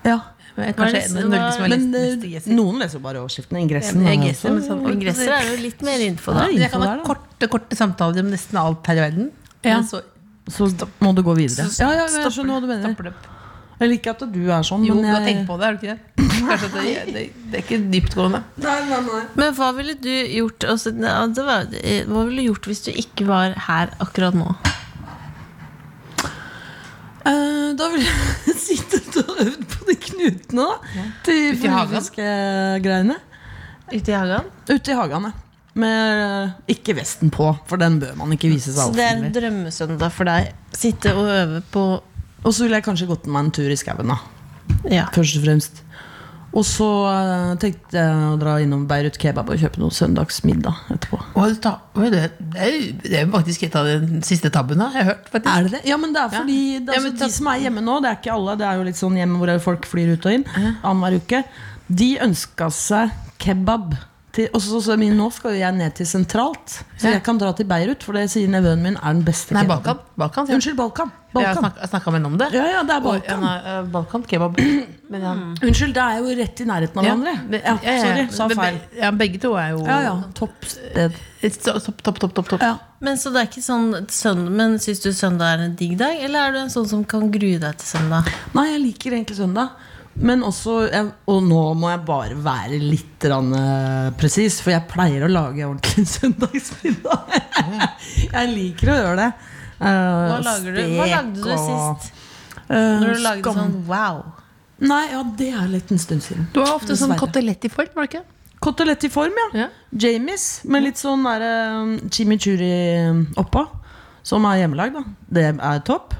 S5: Ja.
S4: Jeg er
S3: Hva
S4: Kanskje
S3: er det-
S4: en av Norge som har lest
S5: Men eh,
S4: mest ingresser.
S5: noen leser jo bare overskriften. Ingressen.
S4: Jeg
S5: men
S4: ingresser,
S5: også-
S4: men sånn-
S3: Ingresser er jo litt mer info, da.
S5: Nei.
S4: Men Jeg kan
S5: info
S4: ha
S5: der, da.
S4: korte, korte samtaler om nesten alt her i verden.
S5: Ja.
S4: Men så
S5: Så må du gå videre.
S4: Så
S5: Ja, ja, jeg
S4: stopper
S5: skjønner hva du mener.
S4: stopper det opp.
S5: Jeg liker at du er sånn,
S4: Jo, du
S5: men
S4: har
S5: jeg
S4: tenkt på det, er du ikke det? Kanskje at det, det, det er ikke dyptgående.
S3: Men hva ville du gjort altså, ja, det var, eh, Hva ville du gjort hvis du ikke var her akkurat nå?
S5: Eh, Da ville jeg [laughs] sittet og øvd på de knutene, da. Til
S4: Ute i hagen?
S5: fluefiskegreiene.
S3: Ute i hagen?
S5: Ute i hagene. Med eh, ikke vesten på, for den bør man ikke vise
S3: Så
S5: seg
S3: det er en
S5: offentlig.
S3: drømmesøndag for deg. Sitte og øve på
S5: Og så ville jeg kanskje gått meg en tur i skauen, da.
S3: Ja.
S5: Først og fremst. Og så eh, tenkte jeg å dra innom Beirut kebab og kjøpe noe søndagsmiddag etterpå.
S4: Og ta, oi, det, det, er, jo- det er jo faktisk et av de siste tabbene jeg har hørt. faktisk.
S5: Er det det? Ja, men det er fordi det, er
S4: Ja,
S5: altså,
S4: men ta-
S5: De som er hjemme nå, det er ikke alle, det er jo litt sånn hjemme hvor folk flyr ut og inn annenhver uke. De ønska seg kebab. Til, og så, så, min, nå skal jo jeg ned til sentralt, så
S4: Ja.
S5: jeg kan dra til Beirut. For det sier nevøen min er den beste
S4: Nei,
S5: kebaben.
S4: Balkan. Balkan sier jeg.
S5: Unnskyld, Balkan.
S4: Jeg har
S5: Balkan.
S4: snak- jeg snakka med henne om det.
S5: Ja, ja, det er
S4: Og- ja,
S5: Balkan.
S4: nei, eh, Balkan kebab. Men ja.
S5: Unnskyld, det er jo rett i nærheten av hverandre.
S4: men-
S5: Ja,
S4: ja, ja,
S5: sorry, sa
S4: men-
S5: feil.
S4: Ja, begge to er jo
S5: Ja, ja. Topp sted.
S4: Et så- Topp, topp, topp. topp, topp.
S5: Ja.
S3: Men så det er ikke sånn søndag, Men syns du søndag er en digg dag, eller er du en sånn som kan grue deg til søndag?
S5: Nei, jeg liker egentlig søndag. Men også, jeg, og nå må jeg bare være litt grann, eh, presis, [laughs] for jeg pleier å lage ordentlig søndagsmiddag. jeg liker å gjøre det. Eh,
S3: Hva, lager du? Hva lagde du sist? Når du lagde sånn wow.
S5: Nei, ja, det er litt en stund siden.
S4: Du har ofte sånn
S5: Dessverre.
S4: kotelett i form, var det ikke?
S5: Kotelett i form, ja.
S4: Ja.
S5: Jamies med litt sånn der, um, chimichurri um, oppå. Som er hjemmelag, da. Det er topp.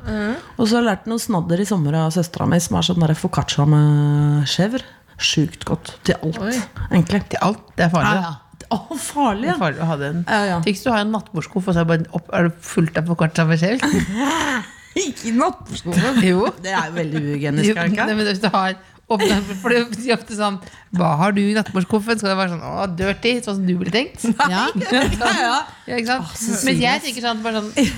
S5: Og så har jeg lært noe snadder i sommer av søstera mi, som er sånn der foccaccia med chèvre. Sjukt godt. Til alt, egentlig.
S4: Til alt. Det er farlig. da.
S5: Å, farlig,
S4: Det
S5: ja.
S4: er farlig å ha den.
S5: Ja, ja.
S4: Tenk hvis du har en nattbordskuff, og så er, det bare opp, er du fullt av foccaccia med skjell.
S5: Ikke i nattbordskuffen.
S4: Jo.
S5: Det er [laughs] jo veldig uhygienisk,
S4: Jo,
S5: er
S4: [laughs]
S5: det ikke?
S4: nei, men hvis du har åpnet- for det sier ofte sånn Hva har du i nattbordskuffen? Skal det være sånn å, dirty, sånn som du ville
S5: [laughs]
S4: tenkt? Ja.
S5: ja.
S4: Ja, ikke sant? Mens jeg tenker sånn, bare sånn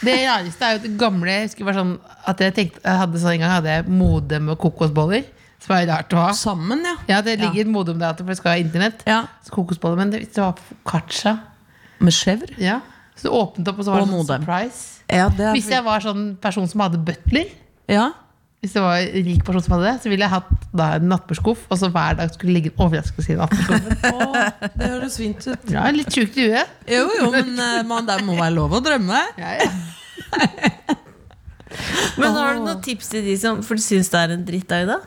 S4: Det rareste er jo at det gamle Jeg husker bare sånn at jeg tenkte jeg hadde sånn En gang hadde jeg modem og kokosboller, som er rart å ha.
S5: Sammen, ja.
S4: Ja, Det ligger et modem der, for det skal ha internett.
S5: Ja.
S4: Så kokosboller, Men det, hvis det var på foccaccia
S5: Med chèvre?
S4: ja. Så det åpnet opp, og så var
S5: Og
S4: det sånn
S5: modem.
S4: surprise.
S5: Ja, det er
S4: Hvis jeg var sånn person som hadde butler
S5: ja.
S4: hvis det var en rik person som hadde det, så ville jeg hatt da en nattbordskuff, og så hver dag skulle det ligge en overraskelse i nattbordskuffen. [laughs]
S5: Det høres fint ut.
S4: Ja, litt sjukt i huet.
S5: Jo, jo, men eh, man, det må være lov å drømme.
S4: Ja, ja.
S3: Men har du noen tips til de som For du syns det er en drittdag, da?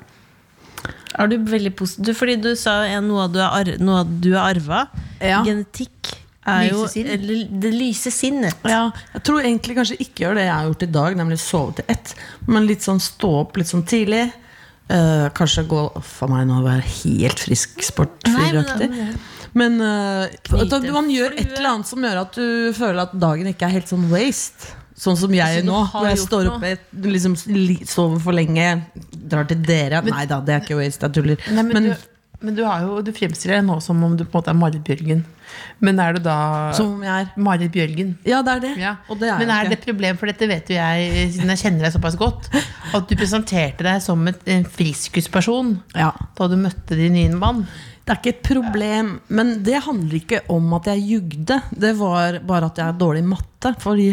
S3: Er du veldig positiv? Fordi du sa jo en- noe du har, ar noe du har arva.
S5: Ja.
S3: Genetikk er jo
S4: Lyse sinn.
S3: eller, det lyse sinnet. [laughs]
S5: Ja, jeg tror egentlig kanskje ikke gjør det jeg har gjort i dag, nemlig sove til ett. Men litt sånn stå opp litt sånn tidlig. Eh, kanskje gå for meg nå å være helt frisk sportfyraktig. Men eh, at du- man gjør et eller annet som gjør at du føler at dagen ikke er helt sånn waste. Sånn som jeg
S3: Altså, du
S5: nå,
S3: har
S5: hvor jeg
S3: gjort
S5: står
S3: noe.
S5: oppe, liksom, li- sover for lenge, drar til dere. Nei da, det er ikke waste, jeg tuller.
S4: Nei, men,
S5: Men-
S4: du, men du, har jo, du fremstiller deg nå som om du på en måte er Marit Bjørgen. Men er du da
S5: Som om jeg er
S4: Marit Bjørgen?
S5: Ja, det er det.
S4: Ja.
S5: Og det er
S4: men er
S5: jeg
S4: det
S5: ikke.
S4: et problem, for dette vet jo jeg siden jeg kjenner deg såpass godt, at du presenterte deg som et, en friskusperson
S5: Ja.
S4: da du møtte din nye mann?
S5: Det er ikke et problem, men det handler ikke om at jeg jugde. Det var bare at jeg er dårlig i matte. Fordi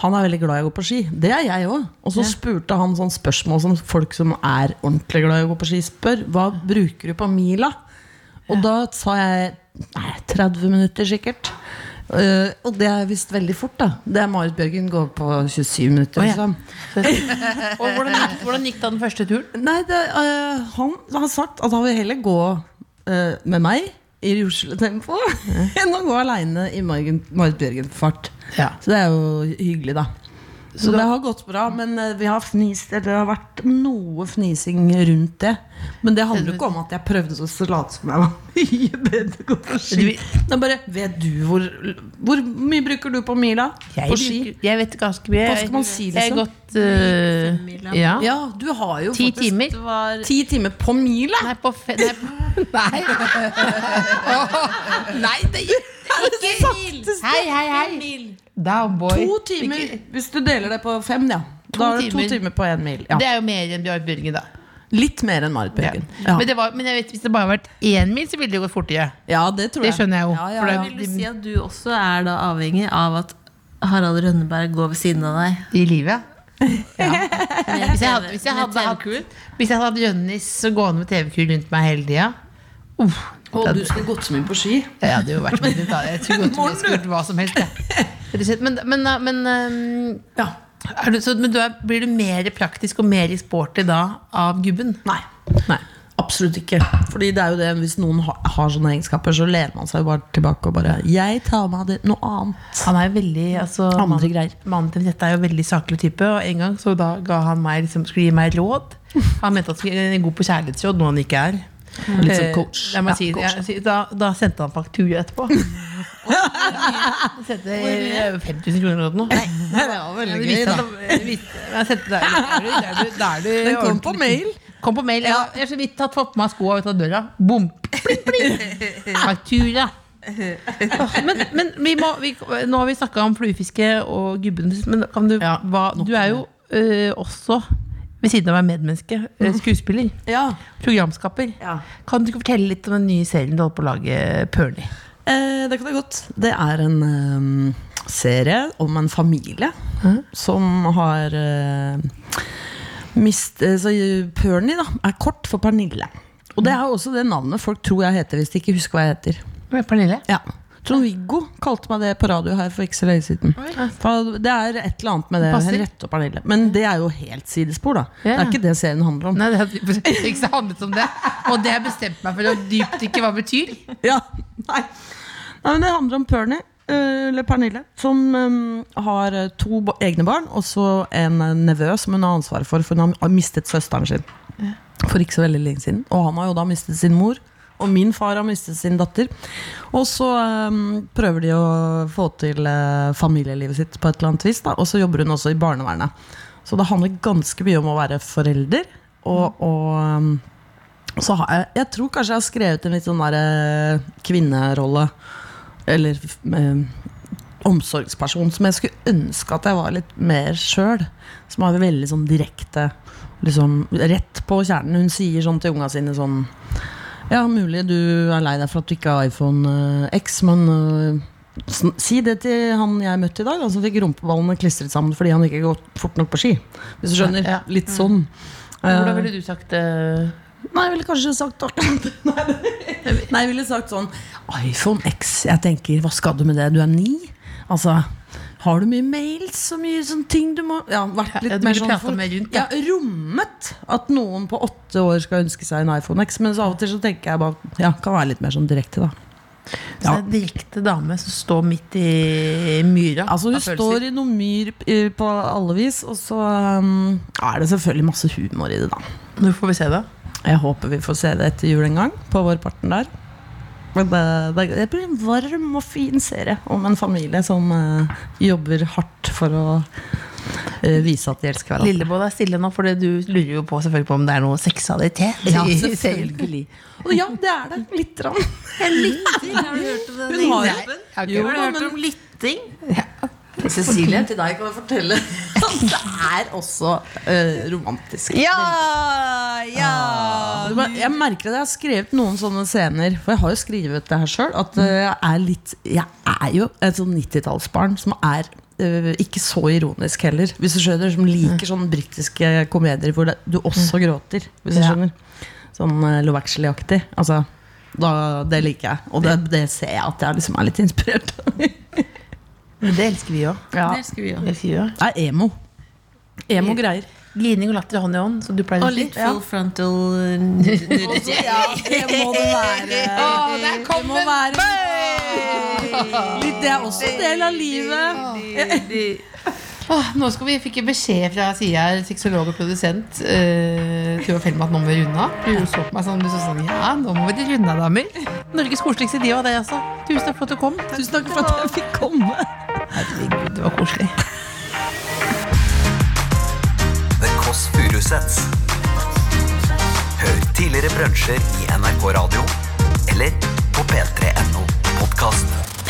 S5: han er veldig glad i å gå på ski. Det er jeg òg. Og så spurte han sånn spørsmål som folk som er ordentlig glad i å gå på ski, spør. Hva bruker du på mila? Og da sa jeg nei, 30 minutter sikkert. Eh, og det er visst veldig fort, da. Det er Marit Bjørgen går på 27 minutter.
S4: Å, ja.
S5: liksom.
S4: Og hvordan gikk, hvordan gikk da den første turen?
S5: Nei, det, øh, han har sagt at han vil heller gå øh, med meg i rusletempo [laughs] enn å gå aleine i Margen- Marit Bjørgen-fart.
S4: Ja.
S5: Så det er jo hyggelig, da. Så det har gått bra, men øh, vi har fnist, eller det har vært noe fnising rundt det. Men det handler jo ikke om at jeg prøvde å late som jeg var [laughs] mye bedre på å gå på ski. Det er bare Vet du hvor, hvor mye bruker du på mila?
S4: Jeg,
S5: på ski?
S4: bruker- jeg vet ganske mye.
S5: Hva skal man si,
S4: Jeg har
S5: liksom?
S4: gått øh, ja.
S5: Ja, du har jo
S4: ti
S5: faktisk
S4: timer.
S5: ti timer på mila!
S4: Nei, på fe... Nei, på- nei. Åh, nei det gikk ikke Hei, hei, hei. Down, boy.
S5: To timer hvis du deler det på fem, ja. Da er det to
S4: timer.
S5: timer på én mil. Ja.
S4: Det er jo mer enn Bjørn Bjørgen, da.
S5: Litt mer enn Marit Bjørgen. Ja.
S4: Men, det var, men jeg vet, hvis det bare hadde vært én mil, så ville det gått fortere.
S5: ja, det tror
S4: Det
S5: jeg.
S4: skjønner jeg jo.
S5: Ja, ja,
S4: for det-
S5: ja.
S3: Vil du si at du også er da avhengig av at Harald Rønneberg går ved siden av deg?
S4: I livet. [laughs] Ja. Hvis jeg hadde, hvis jeg
S3: Med
S4: hadde, hatt- hvis jeg hadde hatt Jønnis gående med TV-kul rundt meg hele tida
S5: Og du skulle gått så mye på ski.
S4: Ja, det hadde jo vært veldig bra. Jeg tror godt jeg skulle gjort hva som helst. jeg. Rett og slett. Men, men, eh, men, øhm, er du, så, men du er, blir du mer praktisk og mer sporty da av gubben?
S5: Nei. Nei. Absolutt ikke. Fordi det er jo det, hvis noen har, har sånne egenskaper, så lener man seg jo bare tilbake og bare Jeg tar meg av det noe annet.
S4: Han er jo veldig altså,
S5: Andre
S4: mann-
S5: greier.
S4: Mannen til dette er jo veldig saklig type. Og en gang så da ga han meg liksom, skulle gi meg råd. Han mente at han skulle være god på kjærlighetsråd, noe han ikke er.
S5: Litt som
S4: Eh,
S5: coach.
S4: la meg
S5: Ja,
S4: si, det.
S5: coach.
S4: Jeg, si- da, da sendte han faktura
S5: [laughs]
S4: etterpå. Han sendte eh, 5000 kroner eller noe. Nei,
S5: Det var
S4: Ja,
S5: veldig
S4: det visste at det- jeg visste- men jeg sendte deg- da er du- da er du- da er du
S5: [laughs] Den kom på
S4: ordentlig-
S5: mail.
S4: Kom på mail, Jeg har- jeg har så vidt tatt fått på meg skoa ut av døra. Bom! Pling,
S5: [laughs]
S4: pling. Faktura. Åh, Men, men vi må, vi, nå har vi snakka om fluefiske og gubben, men kan du, hva, du er jo øh, også, ved siden av å være medmenneske, øh, skuespiller.
S5: Ja.
S4: Programskaper.
S5: Mhm. Ja.
S4: Kan du ikke fortelle litt om den nye serien du holder på å lage, Perny?
S5: Eh, det kan jeg godt. Det er en ehm, serie om en familie som har eh, mist, eh, så Perny da, er kort for Pernille. Og det er jo også det navnet folk tror jeg heter hvis de ikke husker hva jeg heter.
S4: Pernille?
S5: Ja. Trond-Viggo kalte meg det på radio her for ikke så lenge siden. For det er et eller annet med det.
S6: Passer.
S5: Rett opp Pernille. Men det er jo helt sidespor, da. Det er ikke det serien handler om.
S6: Nei, det hadde ikke så handlet om det. Og det har jeg bestemt meg for å dypdykke hva betyr.
S5: [laughs] Ja, nei. nei, men det handler om Pernie, eh, eller Pernille, som eh, har eh, to ba- egne barn, og så en eh, nevø som hun har ansvaret for, for hun har- har mistet søsteren sin for ikke så veldig lenge siden. Og han har jo da mistet sin mor, og min far har mistet sin datter. Og så eh, prøver de å få til eh, familielivet sitt på et eller annet vis, da. og så jobber hun også i barnevernet. Så det handler ganske mye om å være forelder, og, og eh, så har jeg, jeg tror kanskje jeg har skrevet en litt sånn der eh, kvinnerolle. Eller eh, omsorgsperson som jeg skulle ønske at jeg var litt mer sjøl. Som har veldig sånn direkte liksom, Rett på kjernen. Hun sier sånn til unga sine sånn Ja, mulig du er lei deg for at du ikke har iPhone eh, X, men eh, sn- Si det til han jeg møtte i dag, da, som fikk rumpeballene klistret sammen fordi han ikke har gått fort nok på ski. Hvis du skjønner?
S6: Ja. Mm.
S5: Litt sånn.
S6: Hvordan ville du sagt det?
S5: Nei, jeg ville kanskje sagt
S6: [laughs]
S5: akkurat Nei, jeg ville sagt sånn iPhone X, jeg tenker, hva skal du med det? Du er ni? Altså, har du mye mails og mye sånne ting du må Ja, vært litt
S6: Ja, du
S5: mer
S6: ville
S5: sånn
S6: pratet mer rundt,
S5: Ja,
S6: ja.
S5: rommet at noen på åtte år skal ønske seg en iPhone X, men så av og til så tenker jeg bare Ja, kan være litt mer sånn direkte, da.
S6: Så det er en direkte dame som står midt i myra.
S5: Altså Hun
S6: av følelser.
S5: står i noe myr eh, på alle vis, og så um, er det selvfølgelig masse humor i det, da.
S6: Når får vi se det?
S5: Jeg håper vi får se det etter jul en gang, på vårparten der. Men det, det, det blir en varm og fin serie om en familie som eh, jobber hardt for å eh, vise at de elsker hverandre.
S6: Lilleboll er stille nå, for du lurer jo på selvfølgelig på om det er noe seksualitet.
S5: Ja,
S6: i serien.
S5: selvfølgelig. Og ja, det er det. Litt. Rann.
S3: Har du hørt om den?
S5: Hun har jo
S3: Nei.
S6: Har
S5: Jo,
S6: ikke
S3: Har du
S5: men-
S3: hørt om lytting?
S5: Cecilie, til deg kan jeg [laughs] fortelle at det er også eh, romantisk.
S3: Ja!
S5: Ja,
S3: Ja!
S5: det var- Jeg merker at jeg har skrevet noen sånne scener, for jeg har jo skrevet det her sjøl. At eh, jeg er litt Jeg er jo et sånn 90-tallsbarn som er eh, ikke så ironisk heller. Hvis du skjønner, Som liker sånne britiske komedier hvor det, du også gråter. Hvis du
S6: Ja.
S5: skjønner Sånn eh, Love Actually-aktig. Altså, da, det liker jeg. Og det, det ser jeg at jeg liksom er litt inspirert av.
S6: Men det elsker vi òg.
S5: Ja.
S6: Det elsker vi også.
S5: Det er emo. Emo-greier.
S6: Glining og latter hånd i hånd, som du pleier å
S3: Og
S6: si.
S3: litt full frontal eh, nudity.
S5: det må det være.
S6: der
S5: det må være Litt, det er også en del av livet.
S6: Åh, nå skal vi fikk beskjed fra sida her, seksolog og produsent, eh, Tuva Fellmann, at nå må vi runde av. For Hun så på meg sånn, du så sånn Ja, nå må vi til runde av, damer. Norges koseligste de og deg, altså. Tusen takk for at du kom.
S5: Tusen takk for at jeg fikk komme.
S6: Herregud, det var koselig.
S2: The Kåss Furuseths. Hør tidligere brunsjer i NRK Radio eller på p3.no podkast.